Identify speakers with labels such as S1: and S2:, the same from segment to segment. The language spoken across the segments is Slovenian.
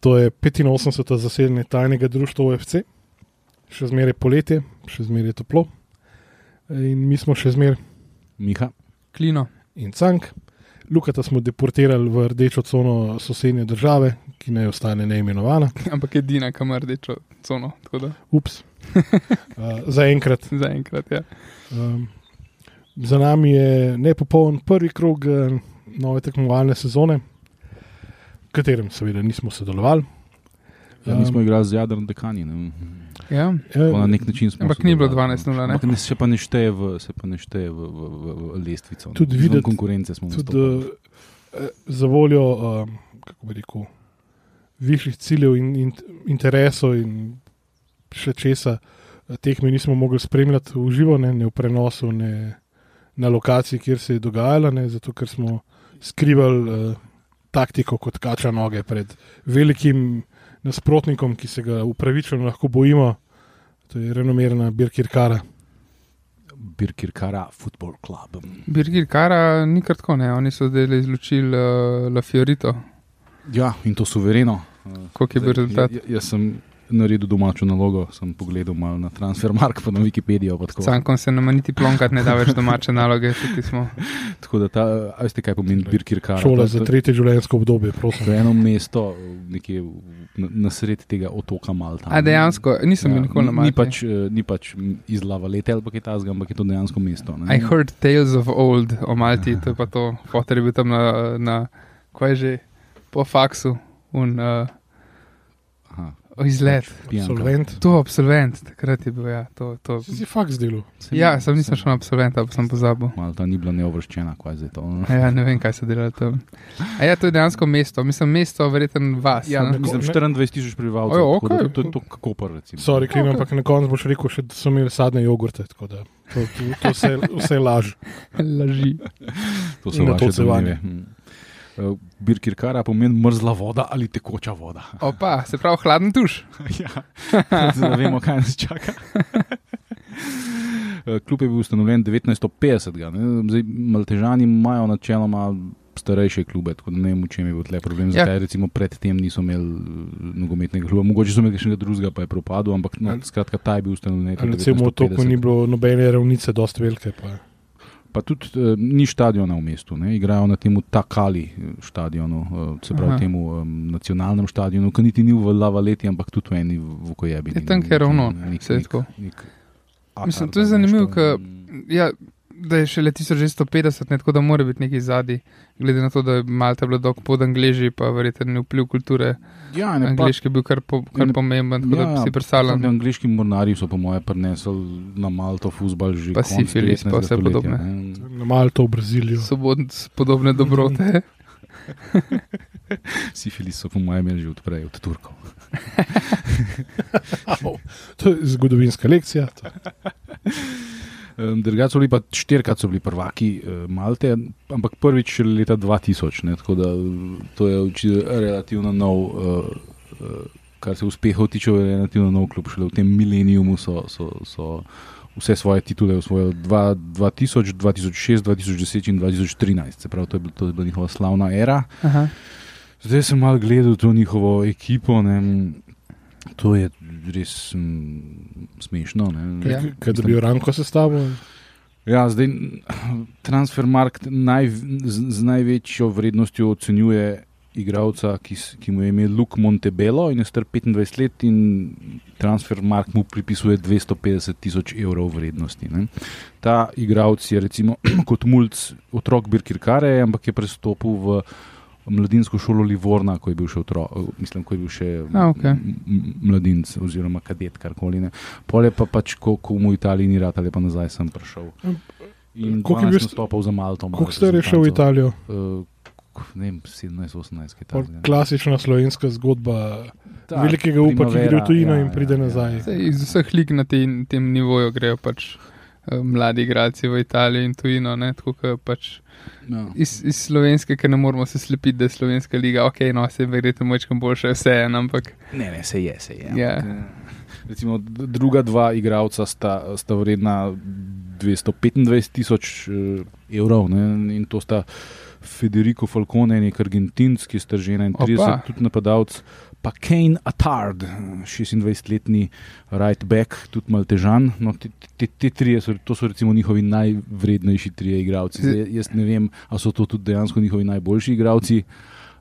S1: To je 85. zasedanje tajnega društva UFC, še zmeraj poletje, še zmeraj je toplo. In mi smo še zmeraj
S2: Miha,
S3: Klino.
S1: in Cank. Lukata smo deportirali v rdečo cono sosednje države, ki naj ostane neimenovana.
S3: Ampak edina, ki ima rdečo cono, tako da
S1: Ups, uh, zaenkrat.
S3: zaenkrat ja. je.
S1: Um, za nami je nepopoln prvi krog eh, nove tekmovalne sezone, v katerem seveda nismo sodelovali. Ehm,
S2: ja, mi
S3: Um,
S2: smo igrali z Jadrom Dekani. Ne? vem.
S3: Ja.
S1: eh,
S2: Tako Na nek način smo.
S3: Ampak ni bilo
S2: sodelovali.
S3: 12:0, ne?
S2: Ampak Ne, se pa ne šteje v, se pa ne šteje v, v, v, v lestvico. ne.
S1: Tudi
S2: Izven
S1: videti-
S2: konkurence smo
S1: Tudi
S2: nastopali.
S1: eh, za voljo, um, kako bi rekel, višjih ciljev in, in interesov in še česa, eh, tekme nismo mogli spremljati v živo, ne, ne v prenosu, ne na lokaciji, kjer se je dogajala, ne, zato ker smo skrivali uh, taktiko kot kača noge pred velikim nasprotnikom, ki se ga upravičeno lahko bojimo. To je renomirana Birkirkara.
S2: Birkirkara Football Club.
S3: Birgir Kara ni kar tako, ne. Oni so zdaj izločili uh, La Fiorito,
S2: Ja, in to suvereno. Eh,
S3: koliko je bil
S2: Zdaj,
S3: rezultat.
S2: ja- Jaz sem naredil domačo nalogo, sem pogledal malo na Transfermarkt, pa na Wikipedijo. Pa tako.
S3: Cankom se nam niti plonkat ne da več domače naloge, tudi smo.
S2: tako da, ta, a veste, kaj pomeni Birkirkara? To
S1: Šola
S2: je-
S1: za
S2: to-
S1: tretje življenjsko obdobje, prosim.
S2: To je eno mesto, nekje v- na, na sredi tega otoka Malta.
S3: A dejansko, nisem bil nikoli na
S2: ni, ni
S3: Malti.
S2: pač, eh, ni pač izlava lete ali kaj takega, ampak je to dejansko mesto. ne.
S3: I heard tales of old o Malti, to je pa to, Potter je bil tam na, na kaj že, po faksu, un uh,
S2: Aha,
S3: izlet.
S2: pijanka.
S1: Solvent.
S3: To absolvent, takrat je bil, ja, to. to.
S1: Si si faks delal.
S2: Sem-
S3: Ja, sem nisem šel na absolventa, pa sem pozabil.
S2: Malta ni bila neovrščena, kaj zdaj to.
S3: A Ja, ne vem, kaj so delali tam. A ja, to je dejansko mesto, mislim, mesto, verjeten vas.
S2: Ja,
S3: ne?
S2: mislim,
S1: ne-
S2: 24 tisoč prebivalcev.
S3: Ojo,
S2: tako da
S3: okej.
S2: To to je to, kako prvo.
S1: Sorry, klin, okay. ampak na koncu boš rekel, še, da so imeli sadne jogurte. tako Da, to, to, to vse, vse laž.
S3: Laži.
S1: In
S2: To so vaše
S1: natolcevanje.
S2: domneve. Birkirkara pomeni mrzla voda ali tekoča voda.
S3: Opa, se pravi, hladen tuš.
S2: ja, zdaj vemo, kaj nas čaka. Eh, Klub je bil ustanovljen 1950. ne. Zdaj, Maltežani imajo načeloma starejše klube, tako da ne vem, v čem je bil tle problem.
S3: Ja.
S2: Zakaj recimo predtem niso imeli eh, nogometnega kluba, mogoče so imeli še nekaj drugega, pa je propadel, ampak no,
S1: Ali-
S2: skratka, ta je bil ustanovljen. leta
S1: Recimo v toku
S2: 1950.
S1: ni bilo nobene ravnice, dost velike. Pa.
S2: Pa tudi eh, ni stadiona v mestu, ne? igrajo na tem Takali eh, stadionu, eh, se pravi
S3: Aha.
S2: temu um, nacionalnem stadionu, ki niti ni v Lavaleti, ampak tudi v eni v Kojebi.
S3: Je tam, kjer ravno, se je tako. Mislim, to je zanimivo, ker- Ja, da je šele 1650, ne, tako da mora biti nekaj zadnji, glede na to, da je Malta bila dolg pod Angleži, pa verjeten je vpliv kulture.
S2: Ja, ne, pa, Ja,
S3: Angliški je bil kar, po, kar
S2: ne-
S3: pomemben, tako da si
S2: Tudi
S3: predstavljam.
S2: angliški mornari so, po moje, prinesli na Malto fuzbal že
S3: Pa
S2: konec
S3: sifilis, pa
S2: 19.
S3: vse
S2: stoletja,
S3: podobne.
S2: ne.
S1: Na Malto, v Brazilijo.
S3: Sobodne podobne dobrote.
S2: Sifilis so, po mojem, imeli že odprej od Turkov.
S1: Au, To je zgodovinska lekcija. To-
S2: Drugače so bili pa štirikrat so bili prvaki eh, Malte, ampak prvič šele leta 2000, ne, tako da eh, to je oči- relativno nov, eh, eh, kar se uspehov tiče, je relativno nov klub. Šele v tem milenijumu so, so, so vse svoje titule osvojili Dva- 2000, 2006, 2010 in 2013, se pravi, to je bila, to je bila njihova slavna era.
S3: Aha.
S2: Zdaj sem malo gledal to njihovo ekipo. Ne, To je res mm, smešno. Ne.
S3: Ja.
S1: Kaj da bi jo ranko sestavil?
S2: Ja, zdaj transfermarkt naj, z, z največjo vrednostjo ocenjuje igralca, ki, s- ki mu je ime Luke Montebello in je star 25 let, in transfermarkt mu pripisuje 250 tisoč evrov vrednosti. Ne. Ta igralec je recimo kot mulj otrok Birkirkare, ampak je prestopil v mladinsko šolo Livorna, ko je bil še otrok, mislim, ko je bil še
S3: A, okej.
S2: m- m- mladinec oziroma kadet, karkoli ne. Pole pa pač, ko, ko mu v Italiji ni rad, ali pa nazaj sem prišel. In
S1: Koliko je
S2: koliko
S1: bil
S2: je
S1: st-
S2: stopil za Malto?
S1: Kako ste rešili v Italijo?
S2: Uh, ne vem, 17, 18, kaj
S1: Pol
S2: takega.
S1: Klasična slovenska zgodba. Velikega upa, ki gre v
S2: primavera,
S1: tujino
S2: ja,
S1: in pride
S2: ja, ja.
S1: nazaj.
S3: Zdaj, iz vseh lig na te, tem nivoju grejo pač eh, mladi igralci v Italijo in tujino, ne, tako kot pač
S2: Ja.
S3: iz, iz slovenske, ker ne moramo se slepiti, da je slovenska liga, ok, no, se verjetno močkam boljše, vse en, ampak
S2: Ne, ne, se je, se je.
S3: Ja.
S2: ampak, eh, Recimo, d- druga dva igralca sta, sta vredna 225 tisoč eh, evrov ne? in to sta Federico Falcone, nek argentinski stržen in
S3: Opa.
S2: 30, tudi napadalec, pa Kane Attard, 26-letni right back, tudi malo težan. No, te, te, te trije so, to so recimo njihovi najvrednejši trije igralci. Zdaj, jaz ne vem, ali so to tudi dejansko njihovi najboljši igralci.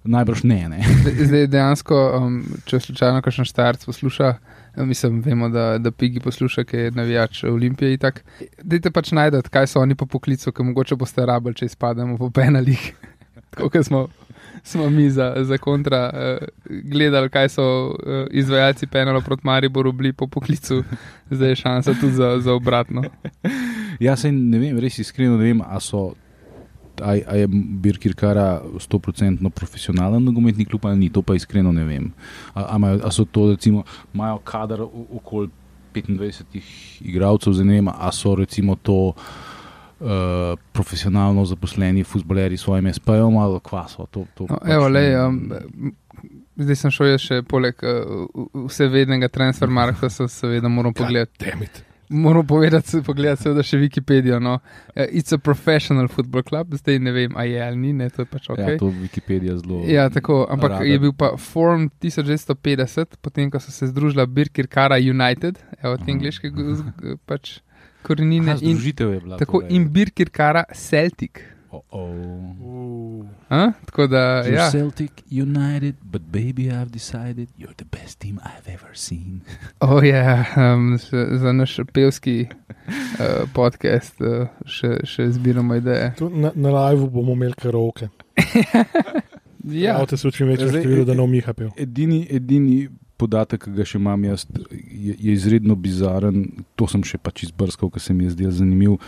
S2: Najbrž ne. ne.
S3: Zdaj dejansko, um, če slučajno kakšen štarc posluša, eh, mislim, vemo, da, da Pigi posluša, ki je navijač Olimpije in tako. Dajte pač najdete, kaj so oni po poklicu, ker mogoče boste rabili, če izpademo po penalih. Tako kot smo, smo mi za, za kontra uh, gledali, kaj so uh, izvajalci penalov proti Mariboru bili po poklicu, zdaj je šansa tudi za, za obratno.
S2: Ja, sej ne vem, res iskreno ne vem, a so ali je Birkir Kara 100% profesionalen nogometni klub ali ni, to pa iskreno ne vem. Ali so to, recimo, imajo kader okoli 25 igralcev, zanima, ali so recimo to. Uh, profesionalno zaposleni futboleri s svojim SP-jem ali kvaso. To, to
S3: no, pač evo, lej, um, zdaj sem šel še poleg uh, vsevednega transfermarkta, se seveda moram pogledati.
S1: Temit
S3: moram povedati, pogledati seveda še Wikipedijo. No. Uh, it's a professional football club, zdaj ne vem, ali je ali ni, ne, to je pač ok.
S2: Ja, to Wikipedija zelo.
S3: Ja, tako, ampak rada. je bil pa form 1950, potem ko so se združila Birkirkara United, evo te angliške pač korenine.
S2: Ha, združitev je bila.
S3: Tako torej. in Birkirkara Celtic.
S2: Oh, oh.
S3: A, tako da,
S2: you're
S3: ja.
S2: Celtic United, but baby, I've decided you're the best team I've ever seen.
S3: oh, ja, yeah, um, še, za naš pevski uh, podcast uh, še, še zbiramo ideje.
S1: Tu na, na live bomo imeli karaoke.
S3: ja,
S1: avto se učim več, številu, da ne omiha pev.
S2: Edini, edini podatek, ki ga še imam jaz, je, je izredno bizaren. To sem še pač izbrskal, ker se mi je zdel zanimiv.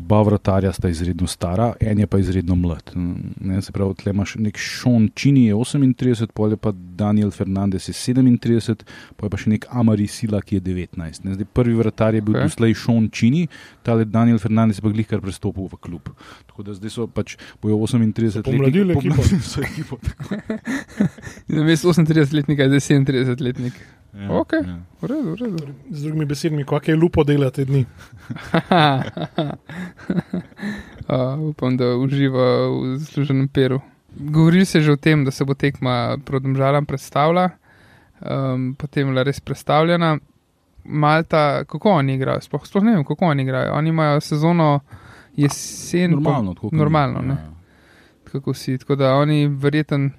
S2: Oba vratarja sta izredno stara, en je pa izredno mlad. Mm, Ne, se pravi, tle imaš nek Šon Čini, je 38, polje pa Daniel Fernandez je 37, pa je pa še nek Amari Sila, ki je 19. Ne, zdaj, prvi vratar je bil okay. doslej Šon Čini, tale Daniel Fernandez je pa glih kar prestopil v klub. Tako da zdaj so pač bojo 38 let.
S1: Pomladili so
S2: ekipo.
S3: Namesto 38-letnika je zdaj 37-letnik. Ja, okay.
S1: ja. V redu, v redu. Z drugimi besedami, kako je lupo delati te dni.
S3: uh, upam, da uživa v zasluženem peru. Govorili se že o tem, da se bo tekma prodomžalam predstavila, um, potem bila res predstavljena. Malta, kako oni igrajo, sploh, sploh ne vem, kako oni igrajo. Oni imajo sezono jesen.
S2: Normalno, tako
S3: kot normalno. Ne? Ja. Tako, si, tako da oni verjeten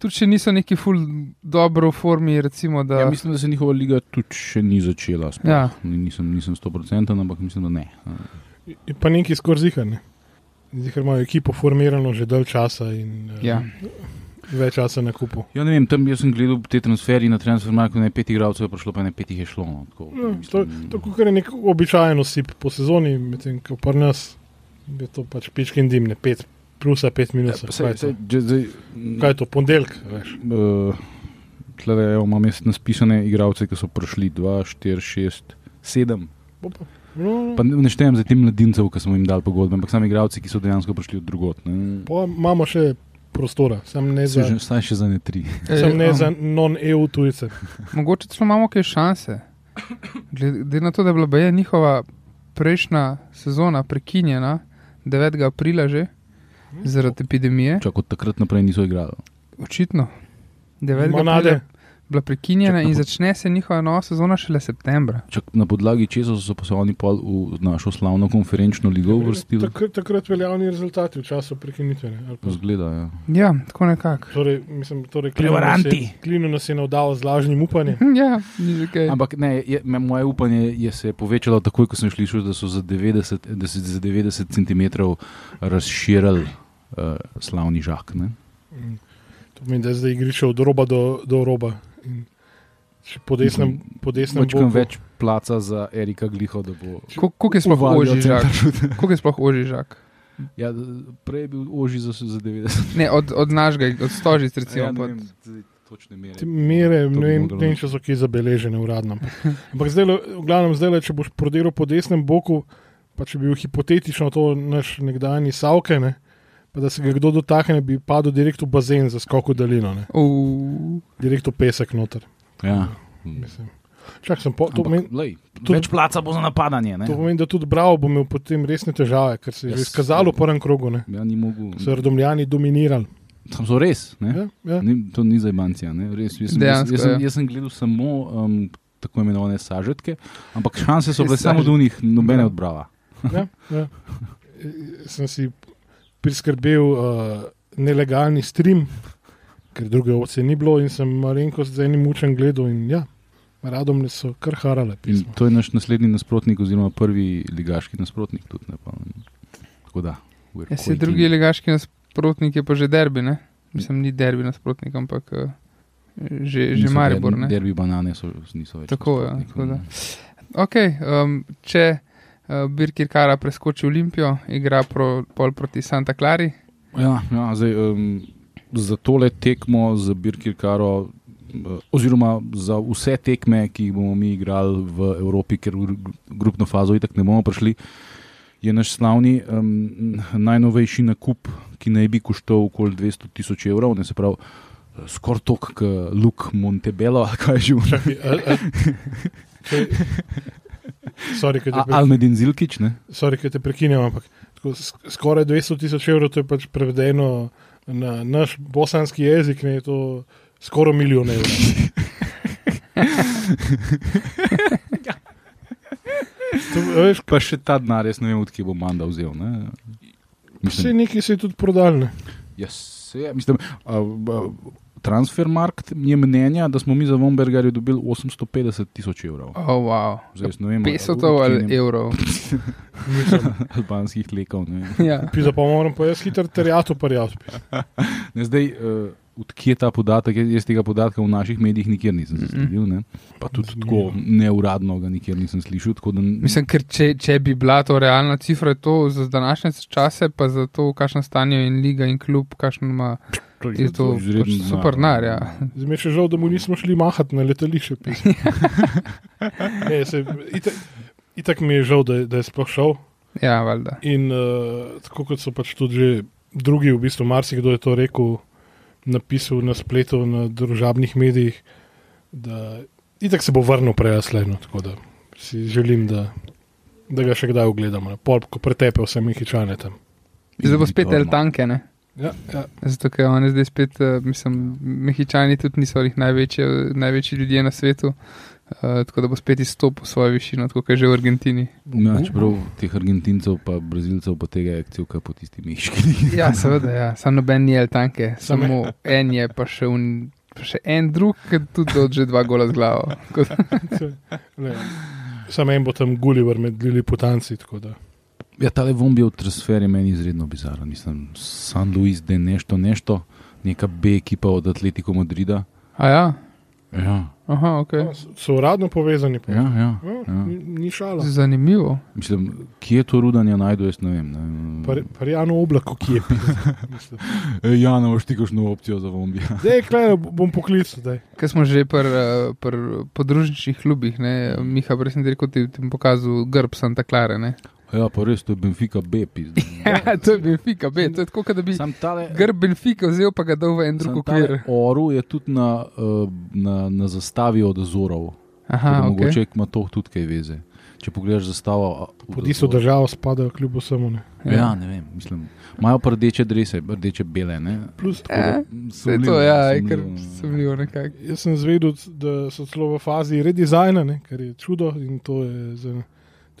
S3: tudi če niso neki ful dobro v formi. Recimo, da...
S2: Ja, mislim, da se njihova liga tudi še ni začela. Spod.
S3: Ja.
S2: Nisem, nisem 100%, ampak mislim, da ne.
S1: Je pa nekaj skoraj zihane. Zdaj imajo ekipo formirano že dalj časa in eh,
S3: ja.
S1: več časa na kupu.
S2: Ja, ne vem, tam sem gledal te transferje na transfermarku, ne pet igralcev je prišlo, pa ne pet jih je šlo. No, tako,
S3: Mm,
S1: ja, mislim, to, to je nek običajen osip po sezoni, medtem ko pri nas je to pač pičkin dim, ne pet plusa 5 minus. Ja, sej, sej,
S2: že, zdaj, mm,
S1: kaj je to, ponedeljek?
S2: Uh, Tele imam jaz naspisane igralce, ki so prišli 2, 4, 6, 7.
S1: Opa.
S2: No. Pa ne štejem za te mladince, ki smo jim dali pogodbe, ampak sami igralci, ki so dejansko prišli od drugot. Ne.
S1: Pa imamo še prostora, sam ne za.
S2: Saj še za ne tri.
S1: Sam ne um, za non-EU tujce.
S3: Eh, Mogoče celo imamo kaj šanse. Glede na to, da je bila baje njihova prejšnja sezona prekinjena 9. aprila že zaradi epidemije.
S2: Čak od takrat naprej niso igrali.
S3: Očitno. 9. je bila prekinjena Čak in pod... začne se njihova nova sezona šele septembra.
S2: Čak na podlagi česa so se pa oni pol v našo slavno konferenčno ligo uvrstili?
S1: Tak, takrat veljavni rezultati v času prekinitve.
S2: Pa... Zgleda, ja.
S3: ja, tako nekako.
S1: Torej, mislim, torej
S2: Prevaranti.
S1: Klino nas je navdal z lažnim upanjem.
S3: ja, ni že kaj.
S2: E, Ampak ne, je, moje upanje je se je povečalo takoj, ko sem slišal, da so za 90, da so za 90 cm razširili uh, slavni žak. Ne?
S1: To pomeni, da je zdaj igrišče od roba do, do roba. In po desnem, po desnem boku.
S2: Mhm. Pač več placa za Erika Gliho, da bo.
S3: Kako je sploh oži žak? Kako je sploh oži žak?
S2: Ja, prej je bil oži za, za 90.
S3: Ne, od, od našega, od stožic recimo. Ja, ne pod...
S2: vem, točne mere.
S1: Te mere, ne vem, ne vem, če so ki zabeležene uradno. Ampak zdaj, v glavnem, zdaj, če boš prodiral po desnem boku, pa če bi bil hipotetično to naš nekdani Savke, ne, uh, pa da se ga kdo dotakne, bi padel direkt v bazen za skok v daljino.
S3: Uh.
S1: Direkt v pesek noter.
S2: Ja.
S1: Mislim. Čak, po, to
S2: pomeni, tudi, več placa bo za napadanje. Ne?
S1: To pomeni, da tudi Bravo bo imel potem resne težave, ker se je yes. izkazalo v prvem krogu. Ne?
S2: Ja, ni mogel.
S1: So ardomljani dominirali.
S2: Tam so res. Ne?
S1: Ja, ja.
S2: Ni, to ni za bancija. Res, jaz, sem, jaz,
S3: Dejansko,
S2: jaz, sem,
S3: ja.
S2: jaz sem gledal samo um, tako imenovane sažetke, ampak šanse so bile
S3: Sažetke.
S2: samo do njih, nobene
S3: Ja.
S2: od brava.
S1: Ja, ja. E, Sem si priskrbel uh, nelegalni stream, ker druge opcije ni bilo, in sem malenkost z enim učem gledal. In, ja, radom so kar harale.
S2: In
S1: pismo.
S2: to je naš naslednji nasprotnik, oziroma prvi ligaški nasprotnik. Tudi, ne, pa, um, tako da. we're
S3: Ja, se
S2: quaking.
S3: drugi ligaški nasprotnik je pa že derbi, ne? Mislim, ni derbi nasprotnik, ampak eh, že, že
S2: Niso
S3: Maribor.
S2: derbi-
S3: Ne?
S2: Derbi banane so, niso več.
S3: Tako, ja,
S2: nasprotnik,
S3: tako da.
S2: ne.
S3: Okay, um, če uh, Birkir Kara preskoči Olimpijo, igra pro, pol proti Santa Clari.
S2: Ja, ja, zdaj, um, za tole tekmo, za Birkirkaro, eh, oziroma za vse tekme, ki jih bomo mi igrali v Evropi, ker v gru- grupno fazo itak ne bomo prišli, je naš slavni um, najnovejši nakup, ki naj bi koštal okoli 200 tisoč evrov, ne se pravi. eh, Skoraj tok, kot Luk Montebello, ali kaj je že v
S1: Čakaj, a- a- če- Sorry, ker te pre-
S2: Almedin Zilkič. Ne?
S1: sorry, ker te prekinjam, ampak tako, sk- skoraj 200 tisoč evrov to je pač prevedeno na naš bosanski jezik, ne je to skoraj milijon evrov. To, a veš,
S2: Pa še ta denar, jaz ne vem, odkje bo Manda vzel. Ne?
S1: Vse nekaj se je tudi prodal. ne.
S2: Jaz se, ja, mislim, a, a, Transfermarkt je mnenja, da smo mi za Vombergarja dobili 850 tisoč evrov.
S3: Oh, wow.
S2: Zdaj, jaz ne vem, ali-
S3: Pesotov ali evrov.
S1: Mislim,
S2: albanskih lekov. Ne. vem.
S3: ja.
S1: Pisa pa moram pa jaz hitro terjato parjati.
S2: Ne, zdaj, uh, odkje je ta podatek? Jaz, jaz tega podatka v naših medijih nikjer nisem
S3: Mhm.
S2: zasledil. Ne. Pa tudi
S1: Zanimivo.
S2: tako neuradno ga nikjer nisem slišal. tako Da, n-
S3: Mislim, ker če, če bi bila to realna cifra, je to za današnje čase, pa za to, kakšno stanje je in liga in klub, kakšno ima. Je to
S2: izreden
S3: pač super denar, ja.
S1: Zdaj mi je še žal, da mu nismo šli mahati na letališče. pismo. Ne, se, itak, itak mi je žal, da, je- da je sploh šel.
S3: Ja, valjda.
S1: In uh, tako kot so pač tudi že drugi, v bistvu marsikdo je to rekel, napisal na spletu, na družabnih medijih, da itak se bo vrnil prej slejno. Tako da si želim, da, da ga še kdaj ogledamo. ne. Pol, ko pretepe vse mehičane tam.
S3: Zdaj bo spet
S2: no.
S3: el tanke, ne?
S1: Ja, ja.
S3: Zato, ker oni zdaj spet, eh, mislim, mehičani tudi niso jih največji, največji ljudje na svetu, eh, tako da bo spet izstopil svojo višino, tako kot je že v Argentini.
S2: Ja, čeprav teh Argentincev, pa Brazilcev, pa tega je cel kup po tistih mehiških.
S3: Ja, seveda, ja. samo noben ni el tanke,
S1: Samo-
S3: samo en je pa še un. pa Še en drug, ki tudi dolže dva gola z glavo. Tako da-
S1: Ne. Sam en bo tam Gulliver med Liliputanci. tako da.
S2: Ja, ta Vombijev transfer je meni izredno bizaren. Mislim, San Luis, da je nešto, nešto, neka B ekipa od Atletico Madrida.
S3: A ja,
S2: Ja,
S3: aha, ok.
S1: No, so- So uradno povezani. Pa.
S2: ja. ja.
S1: No,
S2: Ja.
S1: ni, ni šala.
S3: Zanimivo.
S2: Mislim, kje je to rudanje najdu, jaz ne vem. Ne.
S1: Parijano oblako, ki je pisal.
S2: E, ja, ne boš ti kakšno opcijo za Vombija.
S1: Zdaj, klej, bom poklical. daj.
S3: Ker smo že pri eh, pri podružničnih klubih, ne? Miha, prej sem ti rekel, ti ti bom pokazal grb Santa Clara. Ne?
S2: Ja, pa res, to je Benfica B. pizda.
S3: Ja, to je Benfica, be, to je tako, kot da bi
S2: Sam tale,
S3: grb Benfica vzel pa ga dal v en drug
S2: sam tale
S3: okvir.
S2: oru je tudi na, eh, na, na zastavi od Azorov.
S3: Aha,
S2: Aha, okay.
S3: okay.
S2: Mogoče ima to tudi kaj veze. Če pogledaš zastavo, a-
S1: Pod
S2: od
S1: isto
S2: Azorov.
S1: državo spadajo, kljub vsemu. Ne.
S3: Ja.
S2: Ja, ne vem, mislim. Imajo pa rdeče drese, rdeče bele. Ne?
S1: Plus,
S2: Tako da, mm,
S3: Eh, Vse
S2: sumljivo,
S3: to ja, je
S2: sumljivo,
S3: kar
S2: ne.
S3: sumljivo nekako.
S1: jaz sem zvedel, da so celo v fazi redizajna, ne, kar je čudo in to je za,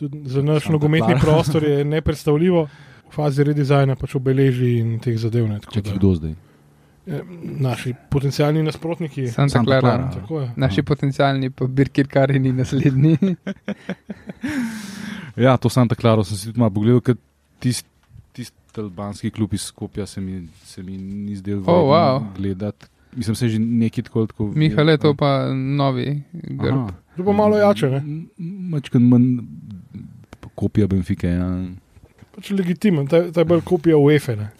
S1: tudi za naš
S2: Santa
S1: nogometni
S2: Clara.
S1: prostor je nepredstavljivo. V fazi redizajna pač obeleži in teh zadev. Ne, tako
S2: Čakaj,
S1: da,
S2: kdo zdaj?
S1: eh, naši potencijalni nasprotniki.
S3: Santa
S2: Ja. Santa
S3: Clara.
S2: Clara.
S1: Tako je.
S3: Naši potencijalni, pa Birkir Kareni naslednji.
S2: Ja, to Santa Clara sem si tudi malo pogledal, ker tisti tist albanski klub iz Skopja se mi, se mi ni zdel vreden
S3: Oh, wow.
S2: gledati. Mislim, se že nekaj tako. ali tako
S3: Miha, le to pa novi grb.
S2: Aha.
S1: To pa malo jače. Ne.
S2: M- Mačkan manj p- kopija Benfike. Ja.
S1: Pač legitimen, ta, ta je bolj kopija UEFA. ne.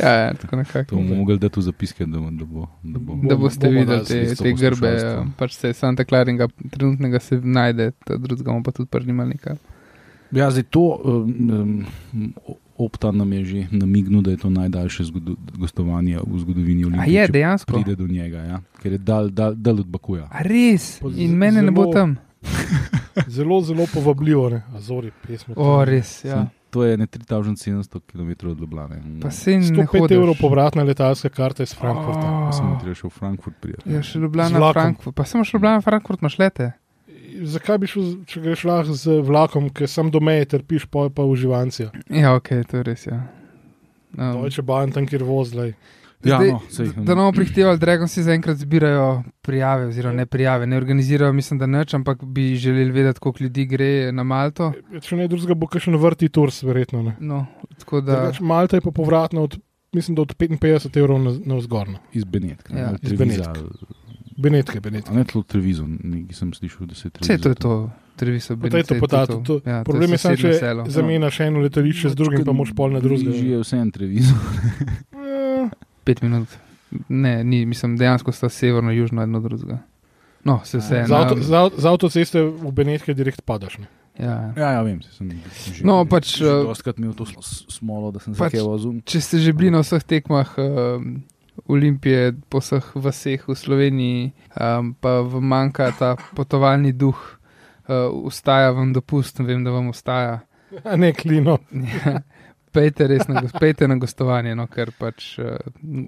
S3: Ja, ja, tako
S2: To
S3: nekako.
S2: bomo mogli dati v zapiske, da, da bo. Da bo.
S1: Bomo-
S3: Da boste
S1: bomo
S3: videli
S1: dali
S3: te,
S2: slisto
S3: te grbe,
S2: poslušalstva.
S3: pač se Santa Claringa trenutnega se najde, ta drugega bomo pa tudi prnima nekaj.
S2: Ja, zdaj to um, um, opta nam je že namignil, da je to najdaljše zgodo, gostovanje v zgodovini
S3: A
S2: Olimpije.
S3: je
S2: če
S3: dejansko?
S2: pride do njega, ja? ker je dal, dal, dal od Bakuja.
S3: A res?
S1: Pa z-
S3: In mene ne bo
S1: zelo-
S3: tam?
S1: Zelo, zelo povabljivo, ne. Azori, pesmo.
S3: O, res, ja.
S2: Sem- to je ne 3700 km od Ljubljana.
S3: Pa se ne
S1: 105
S3: hodiš.
S1: evrov povratna letalska karta iz Frankfurta.
S3: Oh.
S2: Sem treba še v Frankfurt prijeti.
S3: Ja, še
S1: Z
S3: Ljubljana,
S1: vlakom.
S3: Frankfurt. Pa samo še Ljubljana, Frankfurt, imaš lete.
S1: Zakaj bi šel, z- če greš lahko z vlakom, ker sam do meje trpiš, pol pa uživancija.
S3: Ja, ok, to je res. Ja. Um,
S1: Deutsche Bahn tam, kjer vozlaj.
S2: Ja,
S3: Zdaj,
S2: no, sej,
S3: da- Da ne bomo prihtevali, Dragon si zaenkrat zbirajo prijave, oziroma ne prijave, ne organizirajo, mislim, da neč, ampak bi želeli vedeti, koliko ljudi gre na Malto.
S1: Če ne drugega, bo kakšen vrti turs, verjetno. Ne.
S3: No, tako da,
S1: Drugač, Malta je pa povratna od, mislim, da od 55 evrov na, na vzgorno.
S2: iz Benetka.
S3: Ja.
S2: Ja,
S1: Iz Benetk. Benetke, Benetke.
S2: Ne, tlo Trevizo, nekaj sem slišal, da se je
S3: vse
S2: Trevizo.
S3: to je to. Treviso,
S1: Pa to je to potato, to-
S3: Ja,
S1: Problem je samo, če zamenjaš eno letališče
S2: No,
S1: z drugim, pa moš pol na
S2: Že
S1: drugega.
S2: je vse en Trevizo.
S1: Eh,
S3: Pet minut. Ne, ni, mislim, dejansko sta severno, južno, eno od drugega. No, se vse.
S1: Z, avto, z, avto, z avtoceste v Benetke direkt padaš. Ne?
S3: Ja.
S2: Ja, ja, vem, saj sem že.
S3: No, pač, eh,
S2: Dostkrat mi je to slo- s- smolo, da sem se
S3: pač-
S2: pač, vozil.
S3: Če ste že bili na vseh tekmah um, Olimpije, po vseh vseh v Sloveniji, um, pa vam manjka ta potovalni duh, uh, ustaja vam dopust, vem, da vam ustaja.
S1: A ne klino.
S3: Pejte res na, gos- pejte na gostovanje, no, ker pač uh,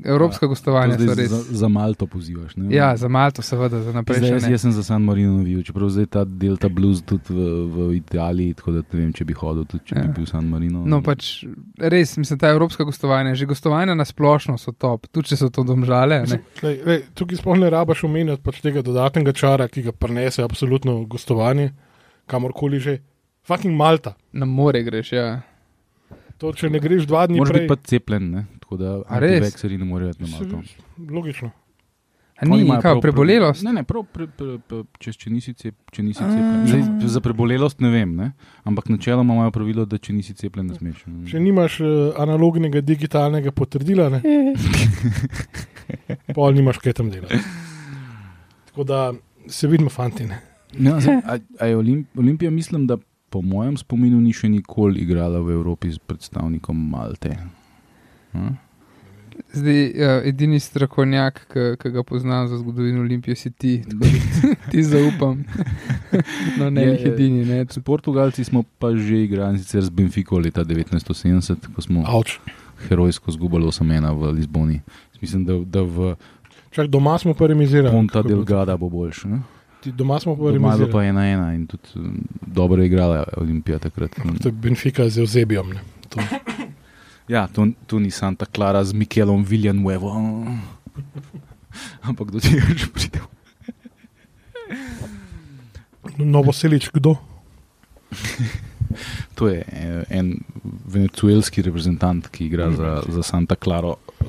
S3: evropska gostovanja so
S2: Ja, Zdaj
S3: res.
S2: za, za Malto pozivaš. Ne?
S3: Ja, za Malto, seveda, za naprej.
S2: Zdaj,
S3: še
S2: jaz,
S3: ne.
S2: jaz sem za San Marino navijal, čeprav zdaj ta Delta Blues tudi v, v Italiji, tako da ne vem, če bi hodil, tudi če ja.
S3: Ja.
S2: bi bil v San Marino.
S3: No, pač res, mislim, ta evropska gostovanja, že gostovanja na splošno so top, tudi če so to domžale. Ne?
S1: Lej, lej, tukaj sploh ne rabaš omenjati pač tega dodatnega čara, ki ga prenese absolutno gostovanje, kamorkoli že. Fucking Malta.
S3: Na more greš, ja.
S1: To, če ne greš dva dni
S2: Moraš
S1: prej,
S2: biti pa cepljen, ne? tako da
S3: pač A res?
S2: antivakseri ne morejo iti na Malto.
S1: Logično.
S3: A ni
S2: Oni imajo
S3: neka
S2: prav pre-
S3: prebolelost?
S2: Ne, ne, prav, pre, pre, pre, če, če nisi, cep, če nisi
S3: A.
S2: cepljen. Zdaj, za prebolelost ne vem, ne? ampak načeloma imajo pravilo, da če nisi cepljen, ne smeš.
S1: Če nimaš eh, analognega digitalnega potrdila, ne, pol nimaš kaj tam delati. Tako da se vidimo, fanti. Ne.
S2: Ja, zdaj, a, a je Olimp, Olimpija, mislim, da po mojem spominu ni še nikoli igrala v Evropi s predstavnikom Malte. Hm?
S3: Zdaj, ja, edini strokovnjak, ki ga poznam za zgodovino Olimpije, si ti, tako da ti zaupam. No, ne,
S2: Je,
S3: jih
S2: je.
S3: edini. Ne.
S2: S Portugalci smo pa že igrali sicer z Benfico leta 1970, ko smo
S1: Avč.
S2: herojsko izgubili 8-1 v Lizboni. Mislim, da, da v
S1: Čak doma smo pa remisirali.
S2: Ponta
S1: Ja, Kako je bilo?
S2: Delgada bo boljše. Ne?
S1: Ti Doma smo pa
S2: Doma je bilo pa
S1: remisirali.
S2: 1-1 in tudi um, dobro je igrala Olimpija takrat. Mm.
S1: To je Benfica z Eusebijom. ne. To-
S2: Ja, to, to ni Santa Clara z Mikelom Villanuevo. Ampak do tega že pridem.
S1: Novoselič, kdo?
S2: To je eh, en venezuelski reprezentant, ki igra za,
S3: Mhm.
S2: za Santa Claro, eh,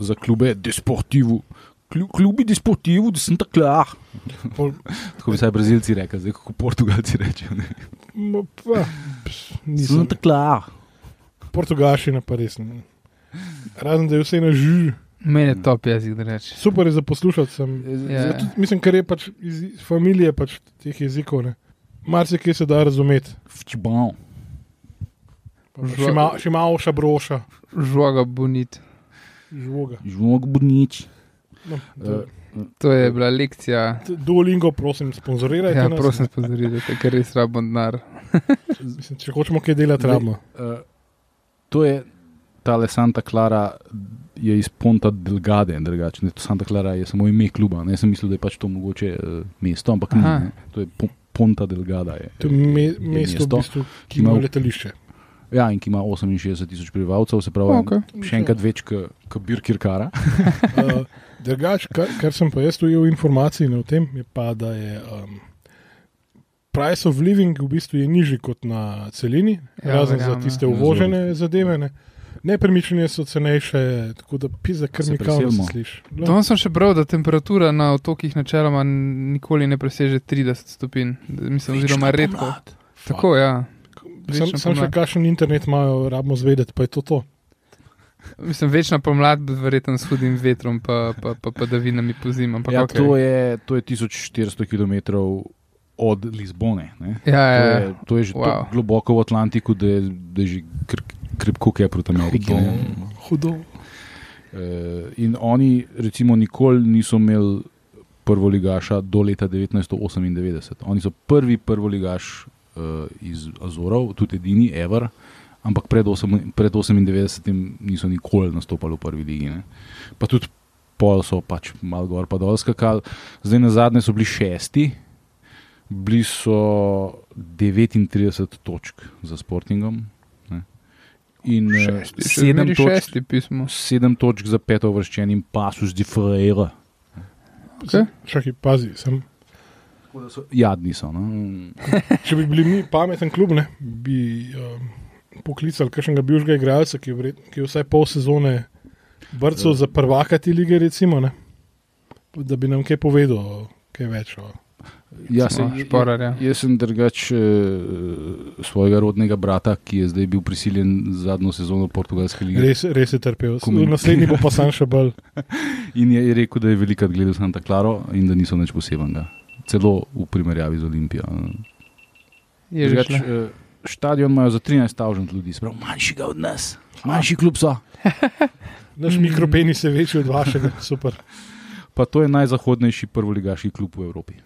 S2: za klube Desportivo. Klu- Klubi Desportivo, de Santa Clara.
S1: Pol-
S2: Tako bi saj Brazilci rekli, zdaj kako Portugalci rečejo. ne.
S1: Ma, pa, ps, Nisem.
S2: Santa Clara.
S1: Portugalščina pa res ne. Razen da je vse na žu,
S3: Mene je top jezik, da rečeš.
S1: super je za poslušati. Sem,
S3: Ja.
S1: Zato mislim, ker je pač iz iz familije pač teh jezikov. ne. Marsikaj se da razumeti.
S2: Futebol.
S1: Pa pa Še malo- še malo šabroša,
S3: Žoga bonit.
S1: žvoga.
S2: Žvok Budnič.
S1: No,
S2: Eh,
S3: To je bila lekcija.
S1: t- Duolingo, prosim, sponzorirajte.
S3: Ja,
S1: nas.
S3: prosim, pozorite, ker res rabimo denar.
S1: Mislim, če hočemo kaj delati, rabimo.
S2: Eh, to je ta le Santa Clara, je iz Ponta Delgade, drugače. Ne, to Santa Clara je samo ime kluba. Ne, jaz sem mislil, da je pač to mogoče uh, mesto, ampak ni,
S3: Aha.
S2: ne. to je po, Ponta Delgada. Je,
S1: To je me, mesto,
S2: mesto,
S1: v bistvu, ki ima
S2: ima-
S1: letališče.
S2: ja, in ki ima 68 tisoč prebivalcev, se pravi, okay. še enkrat več kot Birkirkara.
S1: Uh, Drugač, kar, kar sem pa jaz ujel informacije o tem, je pa, da je um, price of living v bistvu je nižji kot na celini,
S3: Ja,
S1: ja, razen za
S3: verjamem,
S1: tiste
S2: ja.
S1: uvožene zadeve. Ne. Nepremičnine so cenejše, tako da pisa kar
S2: Se
S1: mi kavo
S2: preselimo.
S1: slišiš.
S3: Tam sem še bral, da temperatura na otokih načeloma nikoli ne preseže 30 stopinj. Mislim, oziroma redko. Tako, ja.
S1: Sem,
S3: Večna
S1: sem še
S3: pomlad.
S1: kakšen internet imajo, rabimo zvedeti, pa je to to.
S3: Mislim, večna pomlad, verjetno s hudim vetrom, pa, pa, pa, pa da vinami po zim. Ampak,
S2: Ja,
S3: okay.
S2: to, je, to je 1400 km od Lizbone. Ne.
S3: Ja,
S2: To
S3: ja, ja.
S2: je, to je že wow.
S3: Wow.
S2: globoko v Atlantiku, da je, da je že kr, krepko kepro tam Amerike. ne.
S1: Hudo.
S2: Eh, in oni, recimo, nikoli niso imeli prvoligaša do leta 1998. Oni so prvi prvoligaš eh, iz Azorov, tudi edini, Ever, ampak pred, 8, pred 98 niso nikoli nastopali v prvi ligi. Ne. Pa tudi pol so pač malo gor pa dol skakali, zdaj na zadnje so bili šesti, bili so 39 točk za Sportingom. Ne. In eh,
S3: Šesti, še
S2: sedem
S3: zmeraj
S2: točk,
S3: šesti pismo.
S2: sedem točk za peto vrščenim pasus di Freira.
S3: Okay.
S1: Čakaj, pazi, sem.
S2: Jadni so. No?
S1: Če bi bili mi pameten klub, ne, bi um, poklicali kakšnega bivšega igralca, ki, je vred, ki je vsaj pol sezone brcal za prvaka te lige, recimo, ne, da bi nam kaj povedal, kaj več. no. O.
S2: Ja, se,
S3: šporar, ja.
S2: Jaz sem drugač eh, svojega rodnega brata, ki je zdaj bil prisiljen zadnjo sezono portugalske lige.
S1: Res, res je trpel.
S2: Komunik-
S1: Naslednji bo pa sam še bolj.
S2: In je, je rekel, da je velikrat gledal Santa Claro in da niso nič posebenega. Celo v primerjavi z Olimpijo.
S3: Je že šlo.
S2: eh, stadion imajo za 13.000 ljudi, sprav manjšega od nas. Manjši klub so.
S1: Naš mikropenis je večji od vašega, super.
S2: Pa to je najzahodnejši prvoligaški klub v Evropi.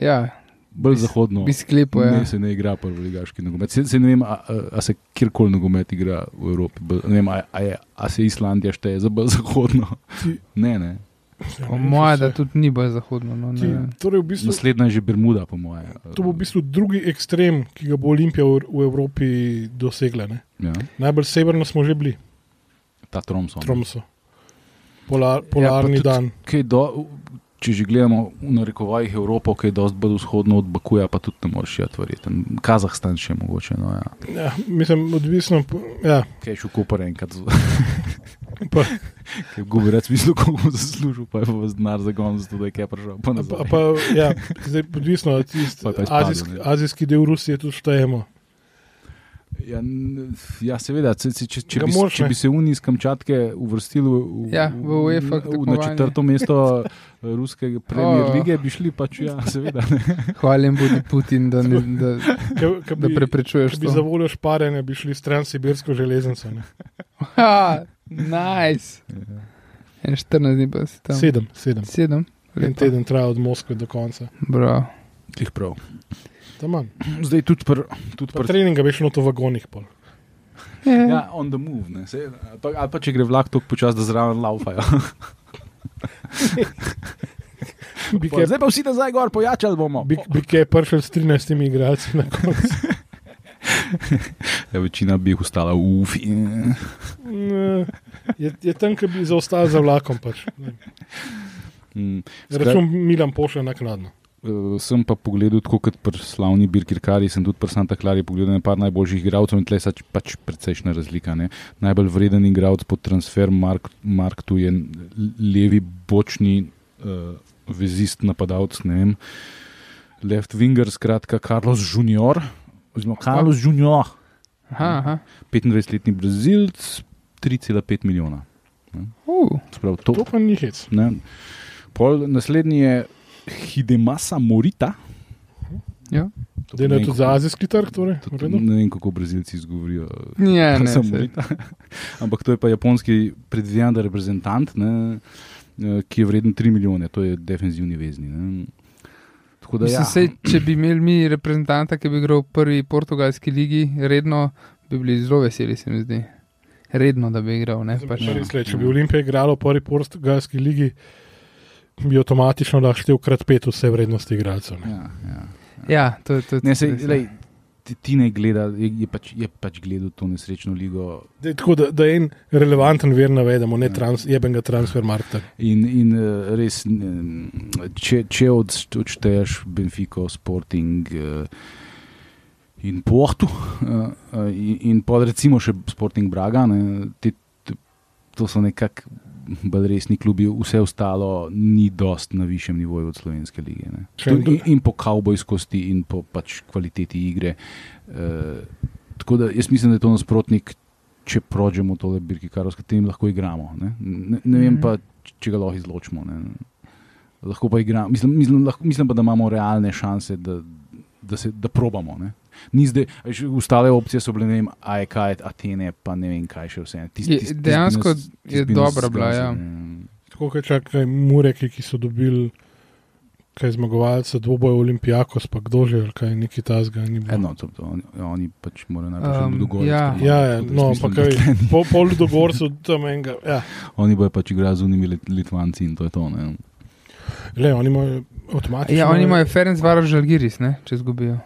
S3: Ja,
S2: Bolj
S3: Bis-
S2: zahodno.
S3: bi sklepal. Ja.
S2: Ne, se ne igra prvoligaški nogomet. Se, se ne vem, a, a- a se kjerkoli nogomet igra v Evropi. Bolj- Ne vem, a, a, je, a se Islandija šteje za bolj zahodno.
S1: Ti-
S2: Ne, ne.
S3: Po mojem, da tudi ni bolj zahodno. No, ne
S1: Ti,
S3: vem.
S1: torej v bistvu,
S2: Naslednja je že Bermuda, po mojem.
S1: to bo v bistvu drugi ekstrem, ki ga bo Olimpija v, v Evropi dosegla. Ne?
S2: Ja,
S1: Najbolj severno smo že bili,
S2: ta Tromso.
S1: Tromso. Polar, polarni ja,
S2: tudi-
S1: dan.
S2: Kaj Do, če že gledamo v narekovajih Evropo, ki je dosti bolj vzhodno od Bakuja, pa tudi ne moreš jeti, verjeten. Kazahstan še mogoče. No, ja.
S1: Ja, mislim, odvisno. po- Ja,
S2: Kaj je šel Koper enkrat, z-
S1: pa,
S2: kaj gubi rec, mislil, koliko bo zaslužil, pa je pa vas denar zagon, zato da je kaj prišel. Pa
S1: a
S2: nazaj.
S1: pa, a pa, ja, zdaj, odvisno od
S2: Pa je pa
S1: tistega.
S2: izpadel,
S1: Azijski,
S2: ne.
S1: azijski del Rusije tudi štejemo.
S2: Ja, n- ja, seveda, če, če, če,
S1: Ga
S2: bi, s-
S1: moraš,
S2: če
S1: ne.
S2: bi se Unij iz Kamčatke uvrstil v, v,
S3: Ja, v UEFA
S2: v, na
S3: tekmovanje.
S2: četrto mesto eh, ruske premier
S3: O.
S2: lige, bi šli pač, ja, seveda. Ne.
S3: Hvala jim bodi Putin, da, ne, da,
S1: Ke- ke
S3: da
S1: bi-
S3: preprečuješ
S1: Če bi za
S3: to.
S1: voljo šparanja bi šli stran sibirsko železnico. ne.
S3: Ha, nice. En 14 dni pa si tam.
S1: Ja. Sedem, sedem.
S3: Sedem.
S1: En
S3: Lepo.
S1: teden traja od Moskve do konca.
S3: Bravo.
S2: Tih prav.
S1: Tamam.
S2: Zdaj tudi pri tudi
S1: Pa
S2: pri-
S1: treninga veš noto v vagonih. Pol.
S3: Ja.
S2: Ja, on the move. Ne, sej, to, ali pa če gre vlak tako počasi, da zraven ja. laufajo.
S1: Bi
S2: Pol,
S1: kaj,
S2: Zdaj pa vsi nazaj gor, pojačali bomo.
S1: bi, bi kaj prišel s 13 igralci na koncu.
S2: Ja, večina bi jih ostala v ufi.
S1: Ne, Je, je tam, ki bi zaostal za vlakom. Pač. Ne.
S2: Mm.
S1: Račun Milan pošlje naknadno.
S2: Eh, sem pa pogledal, tako kot pri slavni Birkirkari, sem tudi pri Santa Clari pogledal nekaj najboljših igralcev in tleh je pač precejšna razlika. Ne? Najbolj vreden igralec po transfer Mark, Mark tu je levi bočni uh, vezist napadalec, ne vem, left winger, skratka Carlos Junior, oziroma Carlos Junior,
S3: Aha, aha.
S2: 25-letni Brazilc, 3,5 milijona.
S3: Uh,
S2: Sprav, to,
S1: To pa ni hec.
S2: ne. Pol, naslednji je Hidemasa Morita.
S3: Ja.
S2: To
S1: Da je
S2: pomeni,
S1: tudi za azijski trg. Torej, v
S2: Tudi,
S1: redu.
S2: ne vem, kako Brazilci izgovorijo.
S3: Ja, ne,
S2: Samo
S3: saj.
S2: Morita. Ampak to je pa japonski predvidevan reprezentant, ne, eh, ki je vreden 3 milijone, to je defenzivni vezni. Ne. Tako da,
S3: mislim,
S2: ja,
S3: sej, če bi imeli mi reprezentanta, ki bi igral v prvi portugalski ligi, redno bi bili zelo veseli, se mi zdi. Redno, da bi igral. Ne,
S1: Zdaj pa
S3: pač.
S1: še res le, Če bi Olimpija igrala v prvi portugalski ligi, bi avtomatično naštel krat pet vse vrednosti igralcev. Ne.
S2: ja, ja.
S3: Ja, to je to. je
S2: Ne,
S3: tudi
S2: sej,
S3: res, ja.
S2: lej, ti, ti ne gleda, je, je, pač, je pač gledal to nesrečno ligo.
S1: Daj, tako da, da en relevanten ver navedemo,
S3: Ja.
S1: ne trans, jebenga transfer markta.
S2: In, in eh, res, eh, če, če od, odšteješ Benfico, Sporting eh, in Porto, eh, eh, in, in pa recimo še Sporting Braga, ne, te, te, to so nekako bolj resni klubi, vse ostalo ni dost na višjem nivoju od slovenske lige. Ne.
S1: Še en
S2: Tudi In, in po kavbojskosti, in po pač kvaliteti igre. Eh, tako da jaz mislim, da je to nasprotnik, če prođemo tole Birki Karo, s katerim lahko igramo. Ne, ne, ne vem
S3: Mhm.
S2: pa, č- če ga lahko izločimo. Ne. Lahko pa igramo. Mislim, mislim, lahko, mislim pa, da imamo realne šanse, da, da, se, da probamo. Ne. Ni zdaj, a veš, ostale opcije so bile, ne vem, AEK, Atene, pa ne vem kaj še vse. Tist,
S3: Je- dejansko je dobra bila, ja.
S1: Tako kot čakaj Mureki, ki so dobili kaj zmagovalca, dvoboj Olimpijakos, pa kdo že, ali kaj neki tasga. Ni bilo.
S2: Eno, Ja, no, to, to, oni, oni pač morajo najprej
S3: Um,
S2: um, dogovoriti.
S3: ja.
S1: Ja, ja, no, ampak kaj, po, pol do gorcev tam enega. Ja.
S2: Oni bojo pač igrali z unimi lit, Litvanci in to je to. Ne?
S1: Le, oni imajo
S2: pač
S1: avtomatično.
S3: Ja, oni imajo Ferenc Varoš Žalgiris, ne, če izgubijo.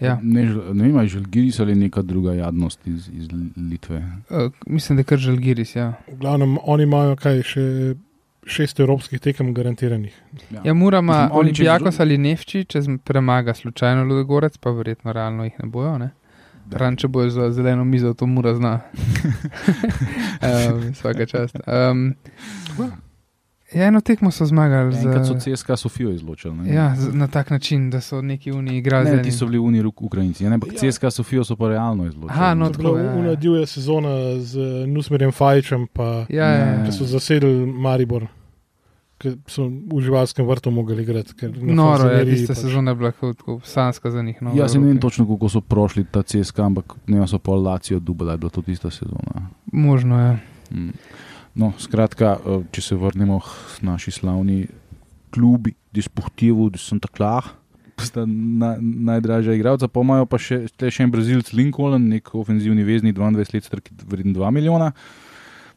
S3: Ja.
S2: Ne, Žal- ne vem, Žalgiris ali neka druga jadnost iz, iz Litve.
S3: Uh, mislim, da je kar Žalgiris. Ja.
S1: V glavnem, oni imajo kaj še šest evropskih tekem garantiranih.
S3: Ja, mora ima
S2: Mislim, oni čez
S3: Olimpijakos
S2: dru-
S3: ali Nefči, če zm- premaga slučajno Ludogorec, pa verjetno realno jih ne bojo. Ne?
S2: Da.
S3: Ran, če bojo za zeleno mizo, to mora zna. um, svaka čast. Um, ja, eno tekmo so zmagali.
S2: Ja, Enkrat so
S3: Za,
S2: CSK Sofijo izločili. ne.
S3: ja, z, na tak način, da so neki uniji igrali. z
S2: Ne, ti
S3: enim.
S2: so bili unijo Ukrajinci, ne, ampak
S1: Ja.
S2: CSK Sofijo so pa realno izločili.
S3: Aha, no,
S1: To je bila
S3: tako, ja, ja.
S1: Una divja sezona z Nusmerjem Fajčem, pa
S3: Ja, ja, ja.
S1: ki so zasedli Maribor, ki so v živalskem vrtu mogli igrati. ker na pač.
S3: Noro je,
S1: Fazaneriji
S3: tista sezona je bila kot tako sanska za njih. No, v
S2: pač. Ja, se ne
S3: Evropi.
S2: vem točno, kako so prošli ta CSK, ampak ne so pa Lacijo dubala, je bila to tista sezona.
S3: Možno je.
S2: Mm. No, skratka, eh, če se vrnemo k naši slavni klubi, Desportivu, da sem taklah. Sta na, najdražja igralca, pa imajo pa še, tule še en brazilc Lincoln, nek ofenzivni vezni, 22 let star, ki je vreden 2 milijona.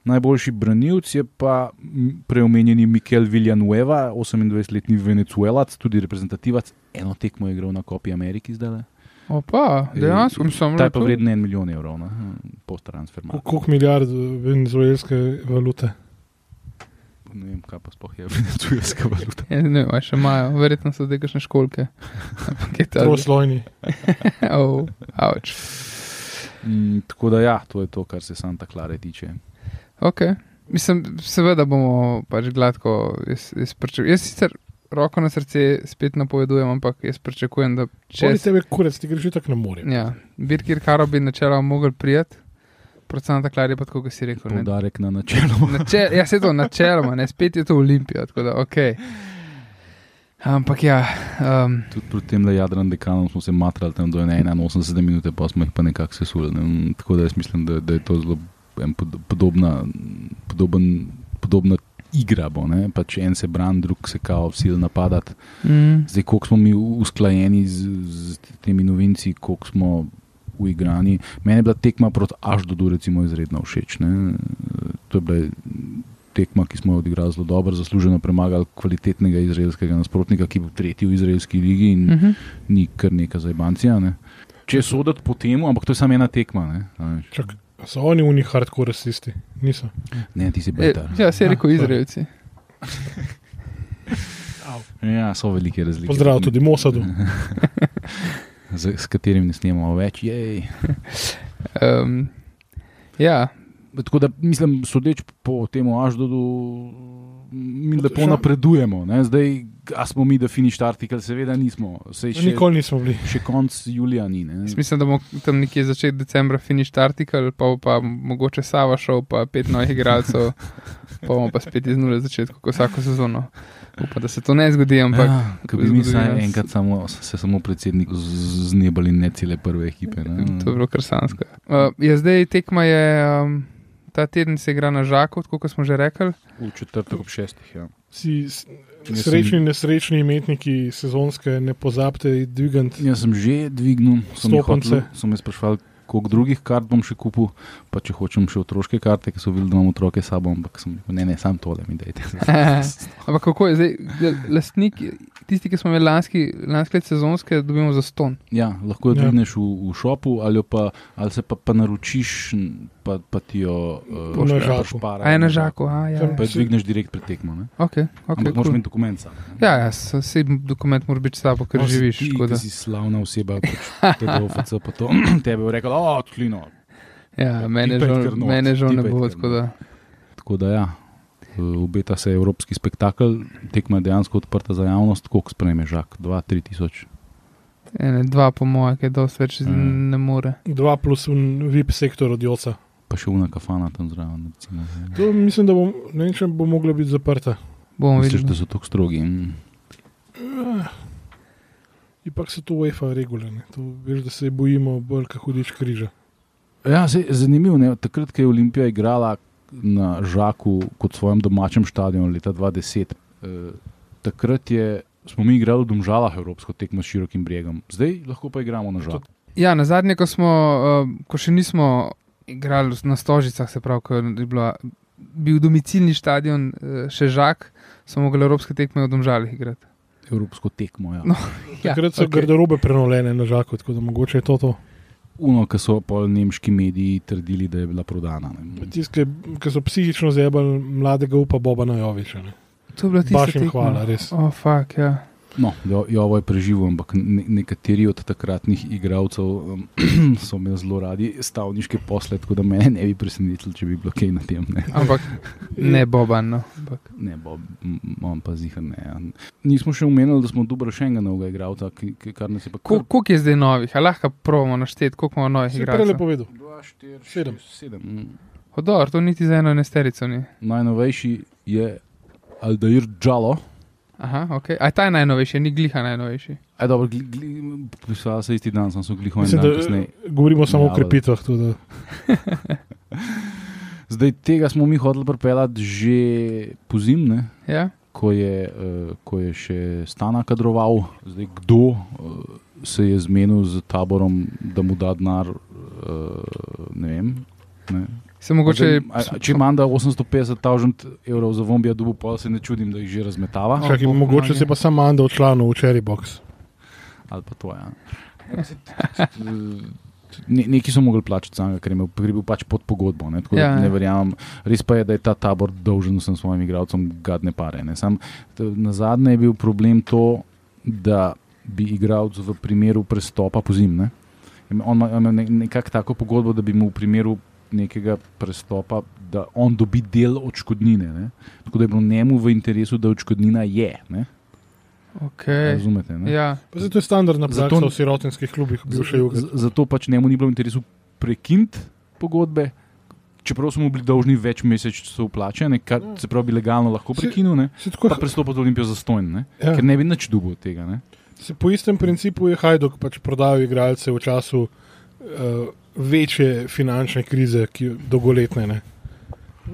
S2: Najboljši branilc je pa m, preomenjeni Mikel Villanueva, 28-letni venezuelac, tudi reprezentativac. Eno tekmo je igral na Kopi Ameriki zdaj.
S3: Opa,
S2: Ej,
S3: dejansko sem
S2: Ta je pa
S3: rekel.
S2: vreden 1 milijon evrov, no, hm, ne, po transferu.
S1: Ko- Koliko milijard venezuelske valute?
S2: Ne vem, kaj pa sploh je venezuelska valuta.
S3: Ja, Ne vem, a še imajo, verjetno so zdaj kakšne školke. Ampak je to.
S1: Troslojni.
S3: Oh, ouch.
S2: Mm, tako da, ja, to je to, kar se Santa Clara tiče.
S3: Okay. Mislim, seveda bomo pač gladko. Jaz, jaz, pričakujem- jaz sicer roko na srce spet napovedujem, ampak jaz pričakujem, da
S1: Če
S3: če
S1: se tebe kurec, ti greš tako na morje.
S3: Ja, Birkir Karo bi načela mogel prijeti, predvsem na Klari, pa tako kot si rekel. Ne?
S2: Poudarek na načelu.
S3: Načel, ja, se to načeloma, ne spet je to Olimpija, tako da ok. Ampak ja, um,
S2: Tudi pri tem, da Jadran dekanom smo se matrali tam do 81 minut, pa smo jih pa nekako sesuli. Ne? Mm, Tako da jaz mislim, da, da je to zelo em, pod- podobna, podoben, podobna igra. Bo, ne? pač en se bran, drug se kao vsil napadati.
S3: mm,
S2: Zdaj, koliko smo mi usklajeni z, z temi novinci, koliko smo uigrani. Meni je bila tekma proti Aždodu recimo, izredno všeč. Ne? To je bila tekma, ki smo jo odigrali zelo dobro, zasluženo premagali kvalitetnega izraelskega nasprotnika, ki bo tretji v izraelski ligi in
S1: Hm.
S3: mm -hmm.
S2: ni kar neka zajbancija. Ne? Če soditi po tem, ampak to je samo ena tekma. Ne, A veš.
S1: Čak, a so oni oni hardcore rasisti? Niso.
S2: ne ti si
S3: e,
S2: betar.
S3: ja, se je rekel
S1: Ja,
S3: Izraelci.
S2: Ja, so velike razlike.
S1: Pozdrav tudi Mosadu.
S2: Z, s katerim ne snemamo več. Jej.
S3: Um, ja,
S2: Tako da mislim, sodeč po tem Aždodu, mi lepo
S1: Še-
S2: napredujemo. Ne? Zdaj, a smo mi, da finiš artikel, seveda nismo. Sej še,
S1: Nikoli nismo bili.
S2: še konc julija ni. ne.
S3: jaz mislim, da bomo tam nekje začeti decembra finišt artikel, pa bo pa mogoče Sava šel, pa pet novih igralcev, pa bomo pa spet iz nule začeli, kot vsako sezono. Upam, da se to ne zgodi, ampak
S2: Ja, ko bi mi
S3: zgodovina
S2: vsaj
S3: s-
S2: enkrat samo, se samo predsednik z- znebali, ne cele prve ekipe. Ne?
S3: To je bilo kar sansko. Uh, ja, zdaj tekma je, um, ta teden se igra na žaku, tako kot smo že rekli.
S2: V četrtek ob šestih. Ja.
S1: Vsi s-
S2: sem-
S1: srečni in nesrečni imetniki sezonske ne pozabite dvigant.
S2: Jaz sem že dvignil, sem jih
S1: Stopnice.
S2: hotel, sem jih sprašval, koliko drugih kart bom še kupil, pa če hočem še otroške karte, ker so videli, da imam otroke s sabo, ampak sem rekel, ne, ne, sam tole mi dajte.
S3: Ampak kako je zdaj, ja, lastnik, tisti, ki smo imeli lanski, lanski let sezonske, dobimo za ston.
S2: Ja, lahko jo
S1: Ja.
S2: dvigneš v, v šopu ali, jo pa, ali se pa, pa naročiš, n- pa, pa ti jo uh,
S1: Na žaku.
S3: A je na žaku, a ja.
S1: Sem
S2: Pa jo dvigneš direkt pred tekmo. ne.
S3: Okay, okay,
S2: Ampak moraš
S3: cool.
S2: imeti dokument sam.
S3: Ja, ja, s- saj dokument mora biti s sabo, ker no, živiš.
S2: Ti,
S3: tako da-
S2: ki si slavna oseba, pač, da OFC, pa to tebe bo rekel, o, tlino.
S3: Ja,
S2: ti
S3: mene
S2: pojdi
S3: žal-
S2: kar not,
S3: mene žal
S2: ti
S3: ne
S2: pojdi
S3: bo.
S2: kar
S3: tako
S2: not.
S3: da-
S2: Tako da ja, eh, obeta se evropski spektakel, tekma je dejansko odprta za javnost, koliko sprejme žak, 2-3 tisoč.
S3: Ene, dva, po mojem, ki je dosti več,
S2: Mm.
S3: ne more.
S1: Dva plus un VIP sektor od Joca.
S2: Pa še una kafana tam zraven. Recimo.
S1: To mislim, da bom, ne vem, če bo mogla biti zaprta.
S3: Bomo
S2: Misliš, da
S3: videli. no.
S2: so tako strogi? Mm.
S1: Ipak se to UEFA regula, ne. To veš, da se bojimo bolj, kot hudič križa.
S2: Ja, saj zanimivo je, takrat, ko je Olimpija igrala na Žaku kot svojem domačem stadionu leta 2010, eh, takrat je smo mi igrali v Domžalah evropsko tekmo s širokim bregom, zdaj lahko pa igramo na žal.
S3: Ja, na zadnje, ko, smo, uh, ko še nismo igrali na Stožicah, se pravi, ko je bila, bil domicilni stadion uh, še žak, smo mogli evropske tekme v Domžalih igrati.
S2: Evropsko tekmo. Ja.
S3: No,
S1: Ja, Takrat so okay. garderobe prenovljene na žaku, tako da mogoče je to. to.
S2: Uno, ki so pol nemški mediji trdili, da je bila prodana. ne.
S1: Tisti, ki so psihično zebali mladega upa Boba Najoviča. ne.
S3: To je bila tista
S1: Baš jim hvala, res.
S3: Oh, fuck, ja.
S2: No, jo, jo, ovo je preživel, ampak ne, nekateri od takratnih igralcev um, so imeli zelo radi stavniške posle, tako da me ne bi presenetilo, če bi bilo kaj na tem. Ne,
S3: Ampak ne Boban. No. Ampak.
S2: ne bo, on pa zihar ne. ja. Nismo še omenili, da smo dobro še enega novega igralca, ki, ki kar nas je pa
S3: Ko- Koliko je zdaj novih, a lahko provamo našteti, koliko imamo novih
S1: Si prej
S3: igralcev.
S1: lepo vedel.
S2: 2, 4,
S1: Sedem.
S2: 7.
S3: Odor, to niti za eno nesterico ni.
S2: Najnovejši je Aldair Džalo.
S3: Aha, okay. A je ta je najnovejši, ni gliha najnovejši.
S2: Aj, E, dobro, gli, gli, pisala se isti dan, sem se glihal en
S1: Mislim,
S2: dan
S1: da, eh,
S2: kasneje. Ja,
S1: govorimo samo o
S2: Najavili.
S1: krepitvah. Tudi, da.
S2: Zdaj tega smo mi hoteli pripeljati že po zimne,
S3: Ja?
S2: ko, je, eh, ko je še stana kadroval. Zdaj, kdo eh, se je zmenil z taborom, da mu da denar, eh, ne vem. Ne.
S3: Se mogoče.
S2: Zdaj, a- a Če manj da 850 tisoč evrov za vombija dubu, pa se ne čudim, da jih že razmetava.
S3: No,
S1: Čakaj,
S3: bog
S1: mogoče
S3: pomagaj.
S1: se pa samo Anda odšlanil v Cherry Box.
S2: ali pa to. Ja. Ne, neki so mogli plačati samega, ker je imel- ker je bil pač pod pogodbo. Ne, tako da
S3: Ja, ja.
S2: ne verjamem. Res pa je, da je ta tabor dolžen vsem svojim igralcem gadne pare. ne. Sam, t- na zadnje je bil problem to, da bi igralec v primeru prestopa po zimne. On ima- ima ne- nekako tako pogodbo, da bi mu v primeru nekega prestopa, da on dobi del odškodnine. Ne. Tako da je bilo njemu v interesu, da odškodnina je. Ne.
S3: Okay.
S2: Razumete? Ne?
S3: Ja.
S1: Pa se to je standardna
S2: Zato-
S1: praksa v sirotinskih klubih, bivše
S2: Z-
S1: juge.
S2: z- Zato pač njemu ni bilo v interesu prekiniti pogodbe, čeprav smo mu bili dolžni več mesecev plačane, kar
S1: Ja.
S2: se pravi, bi legalno lahko
S1: Se-
S2: prekinil, ne?
S1: Se tako-
S2: pa prestopil v Olimpijo za stojn, ne?
S1: ja.
S2: ker ne bi nič dugo od tega. Ne?
S1: Se po istem principu je Hajduk pač prodal igralce v času uh, večje finančne krize, ki je dolgoletne. Ne.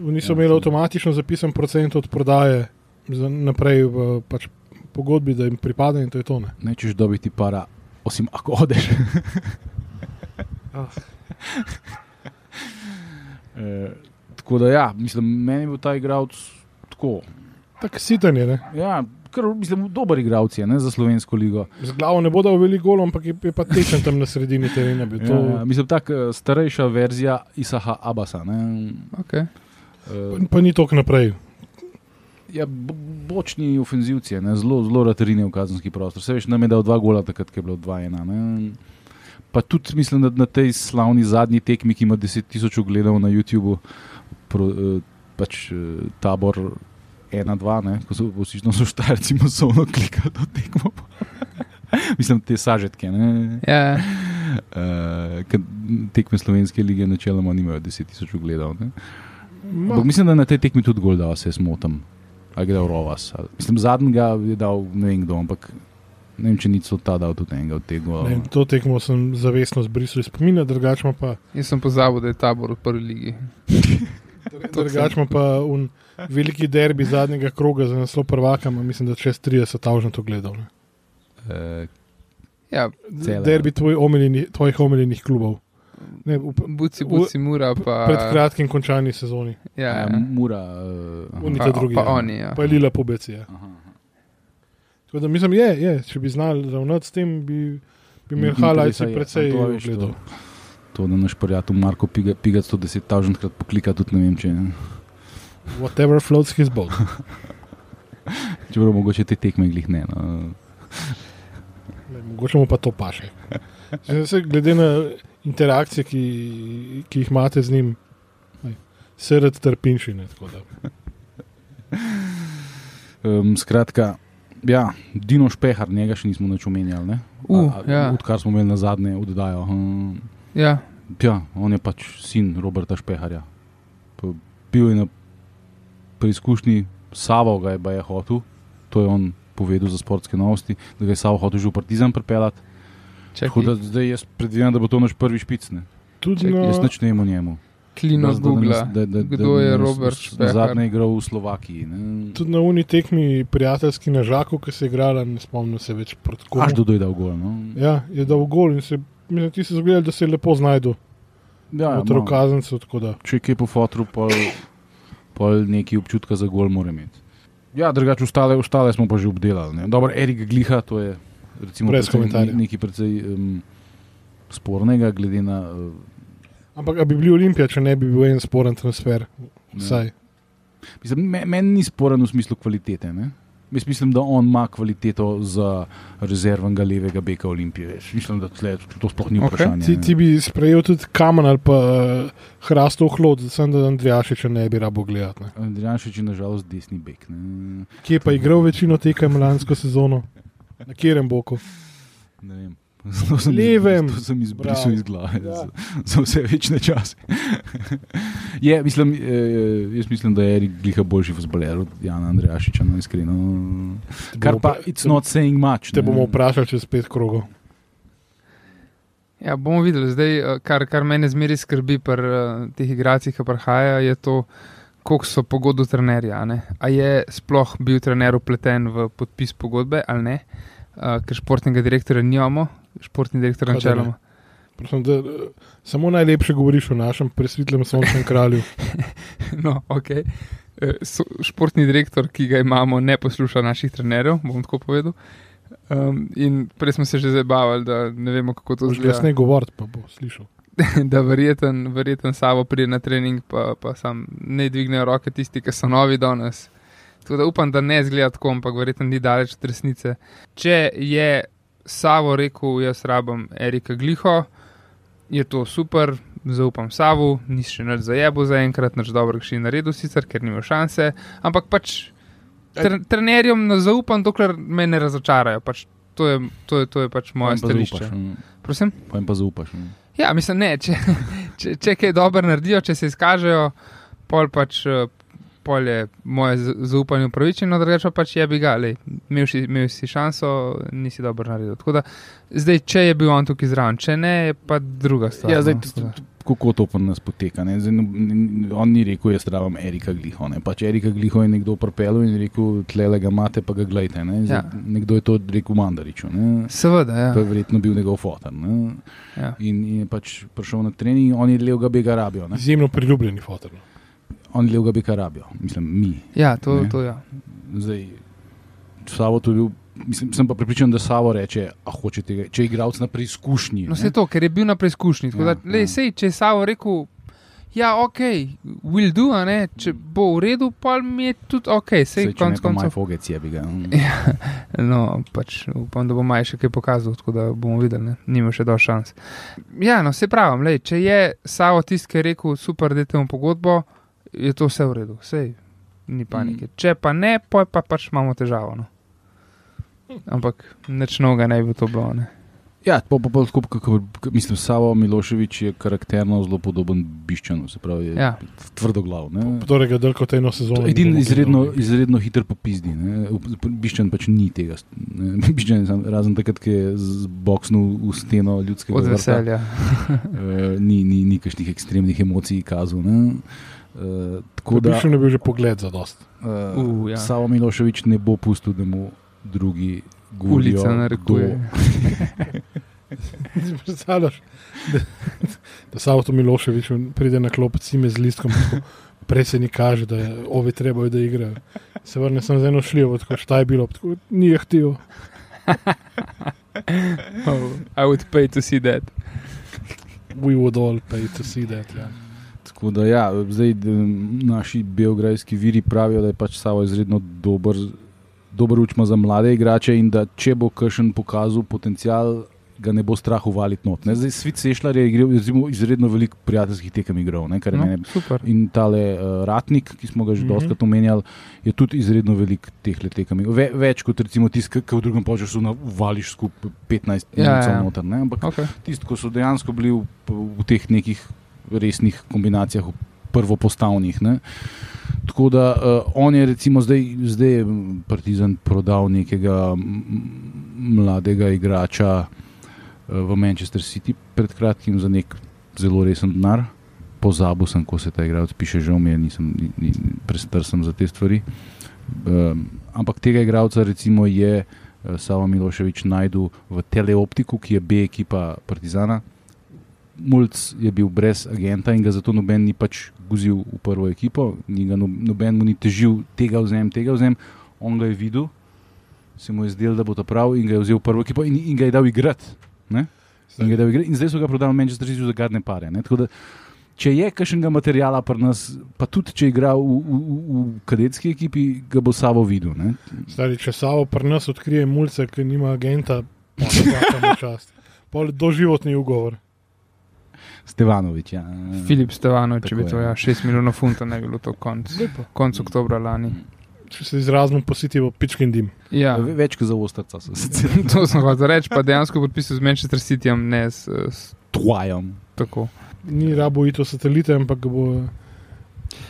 S1: Oni so
S2: Ja,
S1: imeli
S2: seveda.
S1: avtomatično zapisan procent od prodaje za naprej v pač, pogodbi, da jim pripada in to je to. Ne.
S2: ne češ dobiti para, osim ako odeš.
S1: Ah.
S2: Eh, Tako da, ja, mislim, meni je bil ta igralec tako.
S1: Tako siten je. Ne.
S2: Ja, kar mislim, dober igralec je ne, za slovensko ligo.
S1: Z glavo ne bo dal veliko golov, ampak je, je pa tečen tam na sredini terena. bil. To,
S2: Ja, ja, mislim, tako eh, starejša verzija Isaha Abasa. Ne,
S3: Okay.
S2: Eh,
S1: pa, pa ni tok naprej.
S2: Ja, bo- bočni ofenzivci, je, ne, zelo, zelo raterine v kazenski prostor. Se veš, nam je dal dva gola, takrat ko je bilo 2-1. ne. Pa tudi mislim, da na tej slavni zadnji tekmi, ki ima 10 tisoč ogledov na YouTubu, pro, eh, pač eh, tabor 1-2, ne, ko so vsično so štajrci masovno klikali to tekmo. mislim, te sažetke, ne,
S3: Ja.
S2: eh, ker tekme slovenske lige načeloma nimajo 10 tisoč ogledov. Ne.
S1: Ma,
S2: Ampak mislim, da je na tej tekmi tudi gol dal, se smotam. Ali je dal Rovas. ali- Mislim, zadnjega je dal ne vem kdo, ampak ne vem, če ni celo ta dal tudi enega od teh golov.
S1: ne, to tekmo sem zavestno zbrisal iz spomina, drugače pa
S3: Jaz sem pozabil, da je tabor v prvi ligi. To
S1: Drugač Torej, ima pa un veliki derbi zadnjega kroga za naslov prvaka, ima, mislim, da čez 30 tavžen to gledal. ne.
S2: Eh,
S3: Ja,
S2: Cele.
S1: Derbi tvoj omenjeni, tvojih omenjenih klubov. Ne, v, p-
S3: buci, buci, mura pa.
S1: pred kratkim končani sezoni,
S3: Ja, ja.
S2: eh, Mura. eh, aha.
S1: Oni-
S3: Pa,
S1: ta drugi,
S3: pa
S1: ja.
S3: oni. Ja.
S1: pa je Lila pobecija.
S2: Aha, aha.
S1: Tako da mislim, je, je, če bi znali ravnati s tem, bi, bi imeli
S2: Interesa
S1: halajci
S2: je,
S1: precej
S2: a to veš,
S1: gledal.
S2: to- To, da naš prijatelj Marko Piga, Piga 110 tavžen krat poklika, tudi ne vem, če,
S1: Whatever floats his boat.
S2: če bo mogoče te tekme glih ne. No.
S1: Ne, mogoče mu pa to paše. Zdaj, se, glede na interakcije, ki, ki jih imate z njim, aj, se rad trpinšine.
S2: Um, skratka, ja, Dino Špehar, njega še nismo nič omenjali. ne?
S3: Uh,
S2: A- a-
S3: ja.
S2: Odkar smo imeli na zadnje oddajo. Um,
S3: ja.
S2: Ja, on je pač sin Roberta Špeharja. P- Bil je na preizkušnji, Savo ga je, baje hotel, to je on povedal za sportske novosti, da ga je Savo hotel že v Partizan pripeljati.
S3: Čakaj.
S2: Tako da zdaj jaz predvidevam, da bo to naš prvi špic. Ne?
S1: Tudi
S3: Čakaj,
S1: na,
S2: Jaz nič ne vem o njemu.
S3: klino
S2: da- da-
S3: Google,
S2: da- da- da-
S3: No. kdo je
S2: da-
S3: Robert
S2: s- s-
S3: Špehar.
S2: Zadnje igral v Slovakiji. ne.
S1: Tudi na uni tekmi, prijateljski na Žaku, ki se je igrala, ne spomnim se več proti komu.
S2: Až do dojda v gol. No?
S1: Ja, je dal gol in se, mislim, ti si zgledal, da se je lepo znašel
S2: Ja,
S1: v
S2: malo.
S1: rokazencu. tako da.
S2: če je kje po fotru, pol, pol neki občutka za gol mora imeti. Ja, drugače ostale, ostale smo pa že obdelali. ne. Dobro, Erik Gliha, to je recimo,
S1: Brez
S2: precej
S1: komentarja.
S2: ne- nekaj precej um, spornega, glede na. Uh,
S1: Ampak a bi bili Olimpija, če ne bi bil en sporen transfer. Vsaj.
S2: Mislim, me- Meni ni sporen v smislu kvalitete. Ne? Jaz mislim, da on ima kvaliteto za rezervnega levega beka Olimpije. veš. Mislim, da tle, to sploh ni
S3: Ok.
S2: vprašanje.
S1: Ti,
S2: ne.
S1: ti bi sprejel tudi kamen ali pa uh, hrastov hlod, sem da Andrijašiča ne bi rabo gledati. ne.
S2: Andrijanšič je nažalost desni bek. Ne?
S1: Kje je pa igral večino tekem lansko sezono? Na katerem boku?
S2: Ne vem. To sem
S1: Levem.
S2: Iz, to sem
S1: Bravo.
S2: izbrisal iz glave
S1: Ja.
S2: ja. za, za vse večne čase. je, mislim, eh, jaz mislim, da je Erik Gliha boljši vzboler od Jana Andrejašiča, no iskreno.
S1: Te bomo
S2: Kar pa, it's not saying much.
S1: Te
S2: ne.
S1: bomo vprašali čez pet krogov.
S3: Ja, bomo videli. Zdaj, eh, kar, kar mene zmeri skrbi pri uh, teh igracih, ki prihajajo, je to, koliko so pogodb trenerja. A, ne? a je sploh bil trener upleten v podpis pogodbe ali ne, uh, ker športnega direktorja nimamo, športni direktor
S1: Kaj da ne?
S3: načeloma.
S1: Prosim, da, eh, samo najlepše govoriš o našem presvitlem sončnem kralju.
S3: No, okay. so, športni direktor, ki ga imamo, ne posluša naših trenerjev, bom tako povedal. Um, in prej smo se že zabavali, da ne vemo, kako to
S1: Jaz
S2: ja.
S3: zgleda.
S1: ne govorim, pa bo slišal.
S3: Da verjeten, verjeten Savo pride na trening, pa, pa sam ne dvignejo roke tisti, ki so novi danes. Tako da upam, da ne zgleda tako, ampak verjetno ni daleč od resnice. Če je Savo rekel, jaz rabim Erika Gliho, je to super, zaupam Savu, nisi še nič zajebo za enkrat, nič dobrega še ni naredil, sicer ker nima šanse, ampak pač tr trenerjem ne zaupam, dokler me ne razočarajo. Pač to, je, to, je, to je pač moje
S2: Pojem pa
S3: stališče.
S2: zaupaš, ne.
S3: Prosim?
S2: Pojem pa zaupaš. no. ne.
S3: Ja, mislim, ne, če, če, če kaj dobro naredijo, če se izkažejo, pol pač. eh, Pol je moje z- zaupanje upravičeno, da rečem pač je bi ga, lej, imel, si, imel si šanso, nisi dobro naredil. Tako da, zdaj, če je bil on tukaj zraven, če ne, je pa druga stvar.
S2: Ja, zdaj,
S3: no.
S2: t- t- t- kako to pri nas poteka? ne. Zdaj, no- n- n- on ni rekel, jaz rabim Erika Gliho. Ne? Pač Erika Gliho je nekdo propel in rekel, tle ga imate, pa ga gledajte. Ne? Zdaj,
S3: Ja.
S2: Nekdo je to rekel Mandariču. Ne?
S3: Seveda, ja.
S2: To je verjetno bil njegov fotor. ne.
S3: Ja.
S2: In, in je pač prišel na trening, oni levega bega rabijo. Ne?
S1: Izjemno priljubljeni fotor. no.
S2: Oni levega bega rabijo, mislim, mi.
S3: ja, to,
S2: Ne.
S3: to ja.
S2: Zdaj, Savo to je bil, mislim, sem pa pripričan, da Savo reče, a hoče tega, če je igralec na preizkušnji. ne."
S3: No, vse to, ker je bil na preizkušnji. Ja,
S2: Ja,
S3: da, lej,
S2: ja.
S3: sej, če je Savo rekel, ja, ok, will do, a ne, če bo v redu, pa mi je tudi ok, sej,
S2: Saj,
S3: sej
S2: če ne,
S3: konc
S2: pa maj
S3: koncev. Ja.
S2: fogec je bi ga. mm.
S3: No, pač upam, da bo Maj še kaj pokazal, tako da bomo videli, ne? nima še dovolj šans. Ja, no, se pravim, lej, če je Savo tisti, ki je rekel, super, da temu pogodbo, je to vse v redu, vse ni panike. Mm. Če pa ne, poj pa pač imamo težavo. No. Ampak nič novega ne bi to bilo. Ne?
S2: Ja, pa pa tako, kako mislim, Savo Miloševič je karakterno zelo podoben Biščanu, se pravi, je
S3: Ja.
S2: tvrdo glav. Ne?
S1: Torej, da kot eno sezono. ne bomo
S2: Edini izredno,
S1: gledali.
S2: izredno hiter popizdi. ne. Biščan pač ni tega. ne. Biščan je sam, razen takrat, ko je zboksnil v steno ljudskega
S3: Od
S2: vrta.
S3: veselja.
S2: Eh, ni, ni, ni kakšnih ekstremnih emocij kazal. Ne? Uh, tako da
S1: Prišel je bil že pogled za dost.
S2: uh,
S3: Uh, ja.
S2: Savo Miloševič ne bo pustil, da mu drugi govorijo,
S3: Ulica narekuje.
S2: kdo-
S1: Si predstavljaš, da, da Savo Miloševič pride na klop cime z listkom, tako, prej se ni kaže, da je, ovi trebajo, da igrajo. Se vrne sem z eno šljivo, tako šta je bilo, tako ni je htel.
S3: Oh, I would pay to see that.
S1: We would all pay to see that. Ja.
S2: Tako da, ja, zdaj, d- naši belgrajski viri pravijo, da je pač Savo izredno dober, dober učma za mlade igrače in da če bo kakšen pokazal potencial, ga ne bo strah uvaliti not. Ne? Zdaj, Svit Sešljar je igral, recimo, izredno veliko prijateljskih tekem igral, ne? kar je no.
S3: No,
S2: meni.
S3: super.
S2: In tale uh, Ratnik, ki smo ga že mm
S1: Mhm.
S2: -hmm. doskrat omenjali, je tudi izredno velik teh letekem. Ve, več kot recimo tisti, ki v drugem času navališ skupaj 15
S3: Ja,
S2: minut
S3: ja.
S2: ja, noter. Ne? Ampak
S3: Okay.
S2: tisti, ko so dejansko bili v, v teh nekih resnih kombinacijah, v prvopostavnih. Ne? Tako da uh, on je recimo zdaj, zdaj je Partizan prodal nekega m, mladega eh, igrača uh, v Manchester City pred kratkim za nek zelo resen denar. pozabil sem, ko se ta igralec piše, že omenjen, nisem ni, ni, prestar sem za te stvari. Um, ampak tega igralca, recimo, je uh, Savo Miloševič najdel v Teleoptiku, ki je B ekipa Partizana. Mulc je bil brez agenta in ga zato noben ni pač guzil v prvo ekipo, no, noben mu ni težil tega vzem, tega vzem. On ga je videl, se mu je zdel, da bo to prav in ga je vzel v prvo ekipo in, in ga je dal igrati. Ne? In, ga je dal igrati. in zdaj so ga prodali Manchester City za gadne pare. Ne? Tako da če je kakšnega materijala pri nas, pa tudi če igra v, v, v kadetski ekipi, ga bo Savo videl. Ne?
S1: Stari, če Savo pri nas odkrije mulce, ki nima agenta, pa čast. Pol doživotni ugovor.
S2: Stevanovič. Ja.
S3: Filip Stevanovič, če bi to ja, 6 milijonov funtov ne bi bilo to konc, konc oktobra lani.
S1: Če se izrazimo positivo, pičkin dim.
S3: Ja.
S2: Več kot za ostrca so se.
S3: to sem hotel reči, pa dejansko podpisal z Manchester Cityjem, ne s, s
S2: Twajem.
S3: Tako
S1: ni
S3: Ja.
S1: rabo ito satelite, ampak bo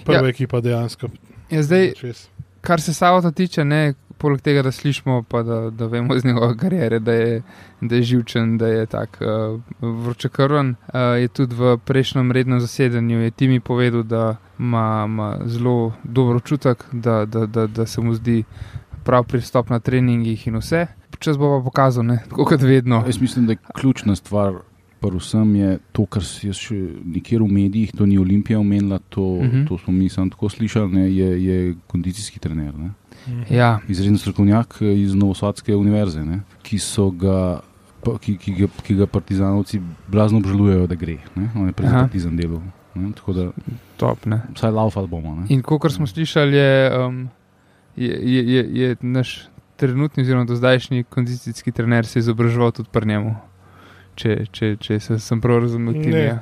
S1: prva ja. ekipa dejansko.
S3: Ja, zdaj, čez. kar se Savota tiče, ne, poleg tega, da slišimo, pa da, da vemo iz njegove kariere, da je, da je živčen, da je tako uh, vročekrven, uh, je tudi v prejšnjem rednem zasedanju je Timi povedal, da ima, ima zelo dober občutek, da, da, da, da se mu zdi prav pristop na treningih in vse. Čas bo pa pokazal, ne, tako kot vedno.
S2: Jaz mislim, da je ključna stvar Prvsem je to, kar se je še nikjer v medijih, to ni Olimpija omenila, to, uh
S3: Mhm.
S2: -huh. to smo mi samo tako slišali, ne, je, je kondicijski trener. Ne.
S1: Mhm.
S3: Ja.
S2: Izreden strokovnjak iz Novosadske univerze, ne, ki so ga. Ki, ki, ki, ki ga partizanovci blazno obžalujejo, da gre. Ne? On je prej partizan delal.
S3: Top, ne.
S2: Vsaj laufal bomo. Ne?
S3: In kot smo slišali, je, um, je, je, je, je naš trenutni, oziroma dozdajšnji kondicijski trener se izobraževal tudi pri njemu če, če, če se, sem prav razumel. Tim, ne, ja.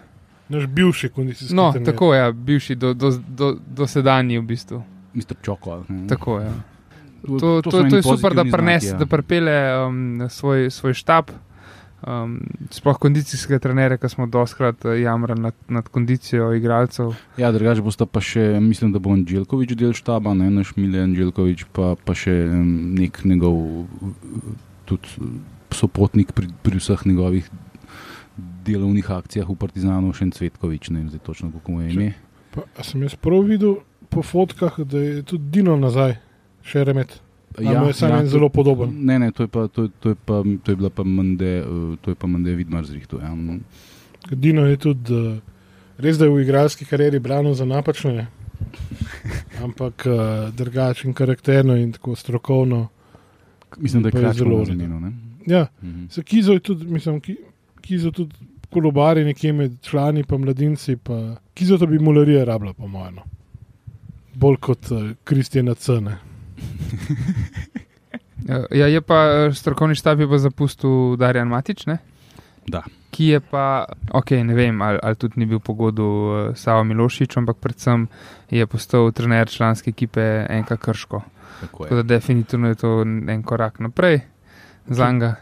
S1: Naš bivši kondicijski.
S3: No, trener. tako je, ja, bivši do, do, do, dosedanji v bistvu.
S2: Mister Čoko. Ne.
S3: Tako je. Ja. To, to, to, to, to je super, da prenese, ja. da prepele um, svoj, svoj štab. Um, sploh kondicijske trenere, ki smo doskrat jamrali nad, nad kondicijo igralcev.
S2: Ja, drugače boste pa še, mislim, da bo Anželkovič del štaba, ne naš Mile Anželkovič, pa, pa še nek njegov tudi sopotnik pri, pri vseh njegovih delovnih akcijah v Partizanu, še en Cvetkovič, ne vem zdaj točno, kako mu je ime.
S1: Pa, sem jaz prav videl po fotkah, da je tudi Dino nazaj, še remet. Ja, je sam ja, to, zelo podoben.
S2: Ne, ne, to je, pa, to, to je, pa, to je bila pa mende, to je pa mende Vidmar zrihto. Ja.
S1: Dino je tudi, res da je v igralski karieri branil za napačne, ampak eh, drugačen karakterno in tako strokovno.
S2: Mislim, da je kraj zelo zanimivo.
S1: Ja, mhm. se kizo je tudi, mislim, ki, kizo tudi kolobari nekje med člani, pa mladinci. Pa, kizo to bi mularija rabila, po mojem. No. Bolj kot uh, Kristijana Cene.
S3: ja, je pa strokovni štab je pa zapustil Darjan Matič, ne?
S2: Da.
S3: Ki je pa, ok, ne vem, ali, ali tudi ni bil pogodu uh, Savo Milošič, ampak predvsem je postal trener članske ekipe NK Krško. Tako, Tako da definitivno je to en korak naprej za njega.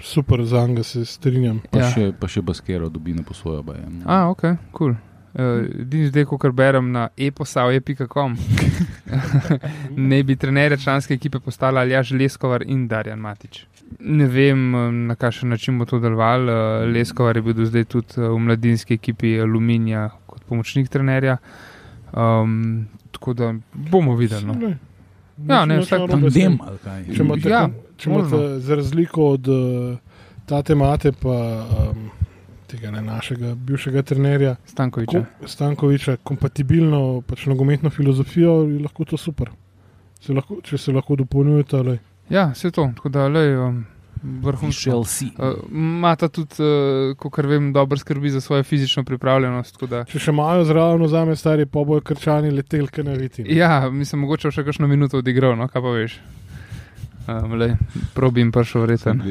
S1: Super, za njega se strinjam.
S2: Pa, ja. še, pa še Baskero dobi na posvojo. ja, no. Bajem.
S3: A, ok, kul. Cool. Edini uh, zdaj, ko berem na e-posavje.com, ne bi trenerje članske ekipe postala Aljaš Leskovar in Darjan Matič. Ne vem, eh, na kakšen način bo to deloval. Leskovar je bil do zdaj tudi eh, v mladinski ekipi Aluminija kot pomočnik trenerja. Um, tako da bomo videli. No. Ja, ne, vsak
S2: tandem ali kaj.
S1: Če imate, ja, če imate za razliko od uh, tate mate, pa um, tega ne, našega bivšega trenerja
S3: Stankoviča.
S1: Ko, Stankoviča, kompatibilno pač nogometno filozofijo, je lahko to super. Se lahko, če se lahko dopolnjujete. Ali.
S3: Ja, vse to. Tako da, lej, um,
S2: Vrhunski.
S3: Mata uh, tudi, uh, kot vem, dobro skrbi za svojo fizično pripravljenost. Da...
S1: Če še malo zraven vzame stari poboj, krčani letel, kaj ne vidi.
S3: Ja, mislim, mogoče še kakšno minuto odigral, no, kaj pa veš. Um, uh, Probi jim prišel vreten.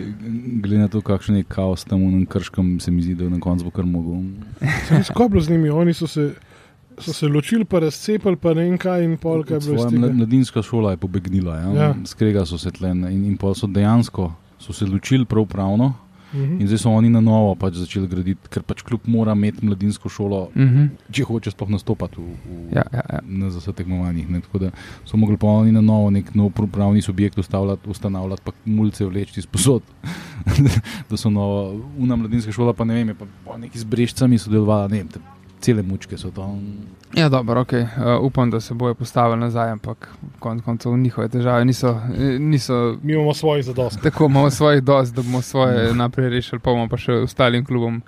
S2: Glede na to, kakšen je kaos tam v Krškem, se mi zdi, da je na koncu bo kar mogel.
S1: Skoblo z njimi, oni so se so se ločili, pa razcepili, pa ne vem kaj. Polka je bila.
S2: Mladinska šola je pobegnila, ja? Ja. skrega so se tle in, in pa so dejansko so se ločili prav pravno. Uh
S1: Mhm.
S2: -huh. In zdaj so oni na novo pač začeli graditi, ker pač kljub mora imeti mladinsko šolo, uh -huh.
S3: Mhm,
S2: če hoče sploh nastopati v, v, ja, ja, ja. na vseh tekmovanjih. Ne? Tako da so mogli pa oni na novo nek nov pravni subjekt ustanavljati, pa mulce vleči sposod. da so nova, una mladinska šola, pa ne vem, je, pa, pa neki z brežcami sodelovala, ne vem, cele mučke so tam.
S3: Ja, dobro, okay. uh, upam, da se bojo postavili nazaj, ampak konec koncev njihove težave niso. niso
S1: Mi imamo svojih zadost.
S3: Tako imamo svojih dost, da bomo svoje naprej rešili, pa bomo pa še ostalim klubom,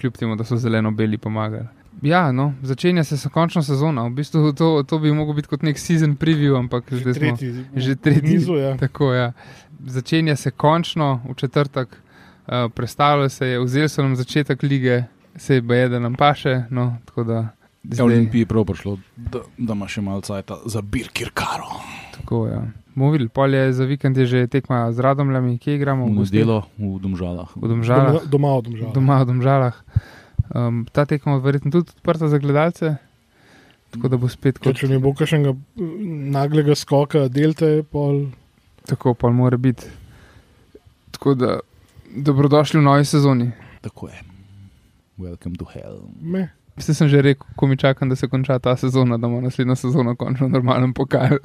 S3: kljub temu, da so zeleno-beli pomagali. Ja, no, začenja se so končna sezona. V bistvu to, to bi lahko bil kot nek season preview, ampak že, že tretji. Smo, že tretji.
S1: Nizu, ja.
S3: Tako, ja. Začenja se končno v četrtek, uh, predstavljalo se je, vzeli so nam začetek lige, se je baje, da nam paše. No, da,
S2: zdaj... Ja, Olimpiji je prav prišlo, da, da ima še malo cajta za Birkirkaro.
S3: Tako, ja. Bomo videli, pol je za vikend je že tekma z radomljami, ki igramo.
S2: V delo v Domžalah.
S3: V domžalah.
S1: Doma v Domžalah.
S3: Doma v Domžalah. Um, ta tekma je verjetno tudi odprta za gledalce. Tako da bo spet
S1: kot. Kaj, če ne bo kakšnega mm, naglega skoka, delte, pol.
S3: Tako pa mora biti. Tako da, dobrodošli v novi sezoni.
S2: Tako je. Welcome to hell.
S1: Me.
S3: Vse sem že rekel, ko mi čakam, da se konča ta sezona, da bomo naslednjo sezono končno normalen pokal.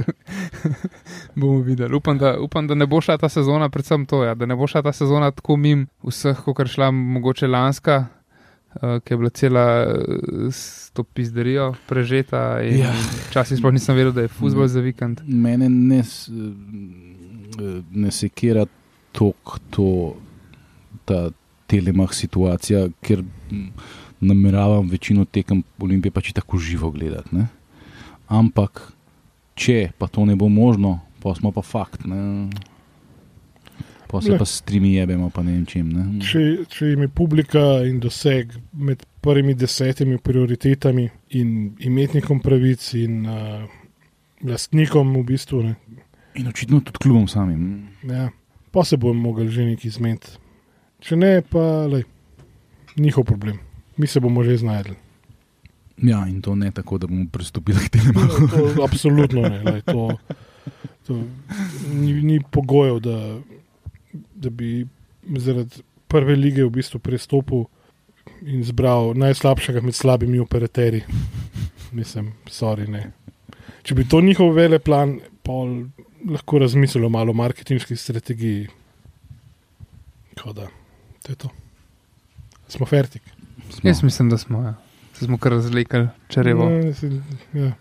S3: bomo videli. Upam da, upam, da ne bo šla ta sezona, predvsem to, ja, da ne bo šla ta sezona tako mim vseh, kot je šla mogoče lanska uh, ki je bila cela eh, s to pizderijo prežeta. Ja. Včasih sploh nisem vedel, da je futbol za vikend.
S2: Mene ne, eh, ne sekira tok to, ta telemah situacija, ker nameravam večino tekem Olimpije pač tako živo gledati. Ne? Ampak, če pa to ne bo možno, pa smo pa fakt. Ne? pa se pa strimi jebemo, pa ne vem čem. Ne?
S1: Če, če jim je publika in doseg med prvimi desetimi prioritetami in imetnikom pravic in uh, lastnikom v bistvu. Ne?
S2: In očitno tudi klubom samim.
S1: Ja, pa se bomo mogli že neki zmed. Če ne, pa lej, njihov problem. Mi se bomo že znašli.
S2: Ja, in to ne tako, da bomo pristopili k temu.
S1: No, absolutno ne. Lej, to, to ni, ni pogojev, da da bi zaradi prve lige v bistvu prestopil in zbral najslabšega med slabimi operaterji. Mislim, sorry, ne. Če bi to njihov vele plan, pol lahko razmislilo malo o marketinški strategiji. Da, to je to. Smo fertik.
S2: No.
S3: Jaz mislim, da smo. Ja. Se smo kar razlikali, če revo.
S1: Ja, ja.